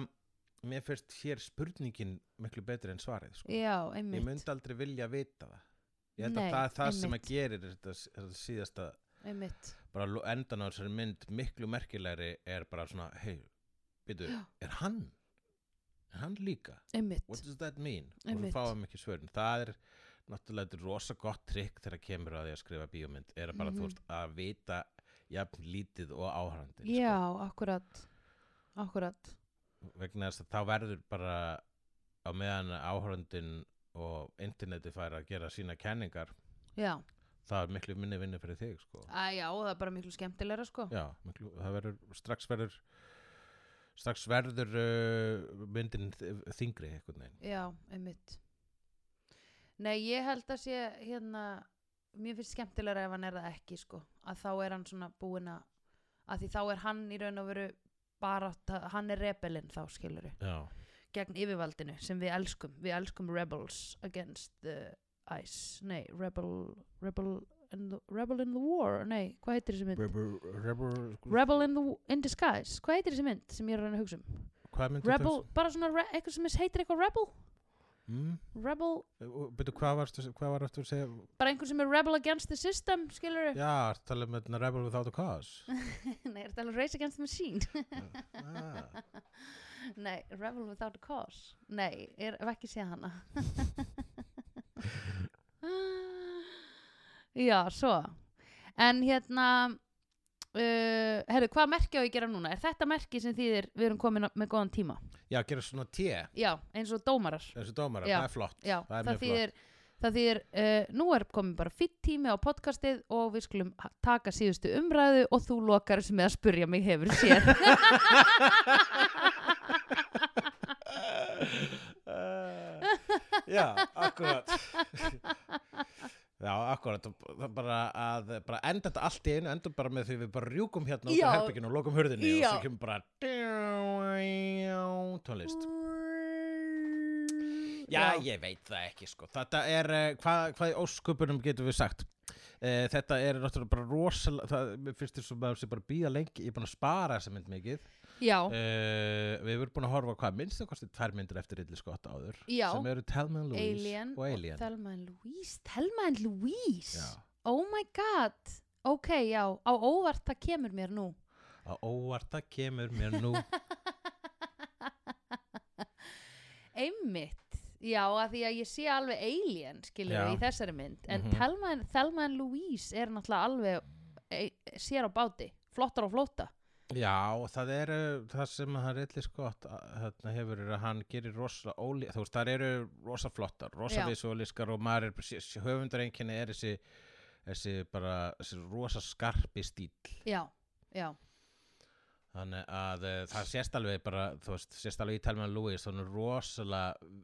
Speaker 1: mér finnst hér spurningin miklu betri en svarið sko.
Speaker 2: já,
Speaker 1: ég
Speaker 2: einmitt,
Speaker 1: myndi aldrei vilja vita það ég held
Speaker 2: Nei,
Speaker 1: að það er það sem að
Speaker 2: einmitt.
Speaker 1: gerir þetta, þetta síðasta
Speaker 2: einmitt.
Speaker 1: bara lo- endan á þessari mynd miklu merkilegri er bara svona hei, býtu,
Speaker 2: Já.
Speaker 1: er hann er hann líka, what
Speaker 2: einmitt.
Speaker 1: does that mean og
Speaker 2: Einmitt.
Speaker 1: við fáum ekki svörin, það er náttúrulega þetta er rosa gott trikk þegar kemur að því að skrifa bíómynd, er að bara þú
Speaker 2: Mhm.
Speaker 1: veist að vita jafn lítið og sko. áhærandi
Speaker 2: já, akkurat akkurat,
Speaker 1: sko. vegna þess að þá verður bara á meðan áhærandin og internetið fær að gera sína kenningar,
Speaker 2: já
Speaker 1: það er miklu minni vinnu fyrir þig sko.
Speaker 2: Æ, já, það er bara miklu skemmtilegra sko
Speaker 1: Já, miklu, það verður strax verður strax verður uh, myndin þ- þyngri einhvern veginn.
Speaker 2: Já, einmitt Nei, ég held að sé hérna, mér finnst skemmtilega ef hann er það ekki, sko, að þá er hann svona búin að, að því þá er hann í raun og veru bara, að- hann er rebelin þá, skilur
Speaker 1: Já,
Speaker 2: gegn yfirvaldinu sem við elskum, við elskum rebels against the ice, nei, rebel, rebel, in the, rebel in the war, nei, hvað heitir þessi mynd?
Speaker 1: Rebel, rebel, sko.
Speaker 2: Rebel in, the, in disguise, hvað heitir þessi mynd sem ég er að reyna að hugsa um?
Speaker 1: hvað myndi
Speaker 2: Rebel, bara svona, re, eitthvað sem heitir eitthvað rebel?
Speaker 1: Mm?
Speaker 2: Rebel
Speaker 1: uh, Byrju, hvað, varstu, hvað var eftir að segja?
Speaker 2: bara einhver sem er rebel against the system skilur
Speaker 1: Já, ertu að tala um hérna Rebel Without a Cause.
Speaker 2: nei, er þetta alveg race against the machine
Speaker 1: ah,
Speaker 2: nei, rebel without a cause nei, er, ef ekki séð hana já, svo en hérna uh, herru, hvað merki á ég að gera núna er þetta merki sem þýðir við erum komin á- með góðan tíma
Speaker 1: já, gera svona T,
Speaker 2: já, eins og dómarar
Speaker 1: þessu dómara,
Speaker 2: Já.
Speaker 1: það er flott.
Speaker 2: já,
Speaker 1: Það er
Speaker 2: það,
Speaker 1: mjög
Speaker 2: þýðir það þýðir, uh, nú er komin bara fýtt tími á podcastið og við skulum ha- taka síðustu umræðu og þú lokar þessu með að spurja mig hefur séð
Speaker 1: Eh, já, akkurat. Já, akkurat, það er bara að bara enda þetta allt í einu, endum bara með því við bara rjúkum hérna út
Speaker 2: Já.
Speaker 1: af herbygginu og lokum hurðinni
Speaker 2: Já.
Speaker 1: og svo kemur bara tónlist. Já, ég veit það ekki sko. Þetta er, eh, hvað, hvað í ósköpunum getum við sagt? Eh, Þetta er náttúrulega bara rosalega, það mér finnst þér svo maður sé bara að býða lengi, ég er búin að spara þessa mynd mikið.
Speaker 2: já,
Speaker 1: Uh, við erum búin að horfa á hvað minnst það kosti tvær myndir eftir Ridley Scott áður
Speaker 2: Já.
Speaker 1: sem eru Thelma and Louise
Speaker 2: Alien
Speaker 1: og Alien
Speaker 2: Thelma and Louise, Thelma and Louise
Speaker 1: Já,
Speaker 2: oh my god ok, já, á óvart það kemur mér nú
Speaker 1: að óvarta kemur mér nú
Speaker 2: einmitt já, að því að ég sé alveg alien skilur
Speaker 1: Já.
Speaker 2: í þessari mynd en
Speaker 1: Mhm.
Speaker 2: Thelma, and- Thelma and Louise er náttúrulega alveg e, sér á báti, flottar og flóta
Speaker 1: Já, og það eru það sem að hann Ridley Scott að- hérna, hefur er að hann gerir rosa óli þú veist, það eru rosa flottar rosa
Speaker 2: Já.
Speaker 1: visualískar og maður er höfundareinkenni er þessi þessi bara, þessi rosa skarpi stíl
Speaker 2: já, já,
Speaker 1: þannig að uh, það sést alveg bara, þú veist, sést alveg í Thelma and Louise þannig rosalega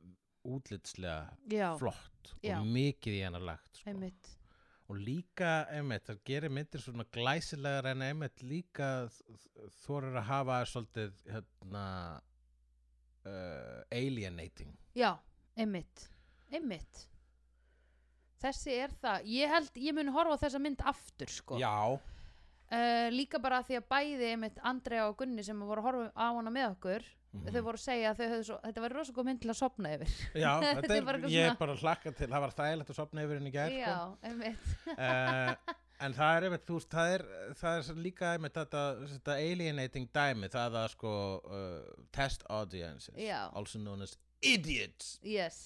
Speaker 1: útlitslega
Speaker 2: já,
Speaker 1: flott
Speaker 2: Já.
Speaker 1: og mikið í hennar lagt sko.
Speaker 2: einmitt
Speaker 1: og líka einmitt, það gerir myndir svona glæsilegar en einmitt líka þorir að hafa svolítið hérna uh, alienating
Speaker 2: já, einmitt einmitt þessi er það, ég held, ég mun horfa á þessa mynd aftur sko
Speaker 1: já,
Speaker 2: uh, líka bara því að bæði einmitt Andrea og Gunni sem voru að horfa á hana með okkur
Speaker 1: Mhm.
Speaker 2: þau voru að segja að þau höfðu svo, þetta var rosa góð mynd til að sopna yfir
Speaker 1: já
Speaker 2: Þetta
Speaker 1: þetta
Speaker 2: er
Speaker 1: er,
Speaker 2: bara eitthvað
Speaker 1: ég
Speaker 2: svona-
Speaker 1: er bara hlakka til það var þægilegt að sopna yfir henni í gær
Speaker 2: já,
Speaker 1: sko.
Speaker 2: einmitt
Speaker 1: uh, en það er einmitt, þú veist, það er, það er líka einmitt þetta, þetta alienating dæmi það að sko uh, test audiences
Speaker 2: Já.
Speaker 1: also known as idiots
Speaker 2: yes,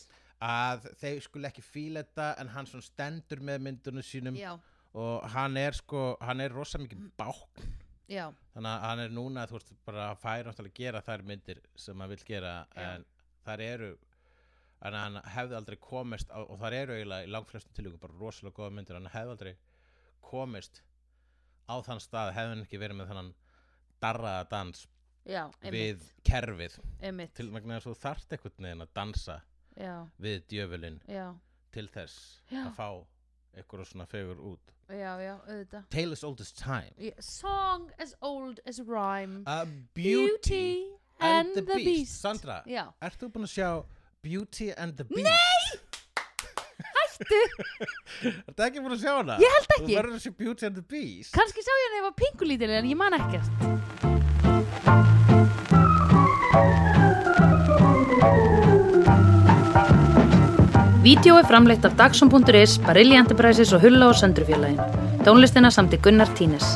Speaker 1: að þeir skulle ekki fíla þetta en hann svona Um- stendur með myndunum sínum
Speaker 2: já, Mm.
Speaker 1: og hann er sko, hann er rosa mikið bák
Speaker 2: já,
Speaker 1: þannig að hann er núna þú veist bara að færa náttúrulega að gera þær myndir sem hann vil gera
Speaker 2: Já.
Speaker 1: en þær eru en hann hefði aldrei komist á, og þær eru eiginlega í langflestum tilvíkum bara rosalega góða myndir hann hefði aldrei komist á þann stað hefði hann ekki verið með þannan darraða dans
Speaker 2: já, einmitt,
Speaker 1: við kerfið
Speaker 2: einmitt
Speaker 1: til vegna þess að þú þarft einhvern veginn að dansa
Speaker 2: já,
Speaker 1: við djöfulinn
Speaker 2: já,
Speaker 1: til þess
Speaker 2: Já.
Speaker 1: að fá einhverju svona fegur út
Speaker 2: já, já, auðvitað
Speaker 1: Tale is oldest time
Speaker 2: Yeah, Song as old as rhyme
Speaker 1: A beauty, and, the, beast. Sandra,
Speaker 2: Já,
Speaker 1: ert þú búin að sjá Beauty and the Beast? Nei! Hættu! Ertu ekki búin að sjá hana?
Speaker 2: Ég held ekki.
Speaker 1: Þú verður að sjá Beauty and the Beast
Speaker 2: kannski sá ég hann ef að pingulítil en ég man ekkert Vídeó er framleitt af Dagsum.is, Barilli Enterprises og Hulla og Söndrufjörlægin. Tónlistina samt í Gunnar Tínes.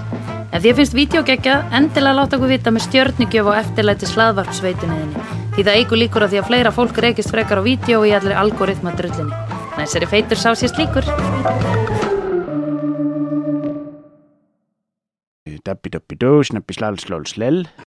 Speaker 2: Ef því finnst vídeo geggja, endilega láta okkur vita með stjörnugjöf og eftirlæti slaðvarpsveituninni. Því það eigur líkur að því að fleira fólk reykist frekar á vídeo og í allir algoritma drullinni. Næsari feitur sá sér slíkur.
Speaker 3: Dabbi dabbi dó, snabbi slal slal slel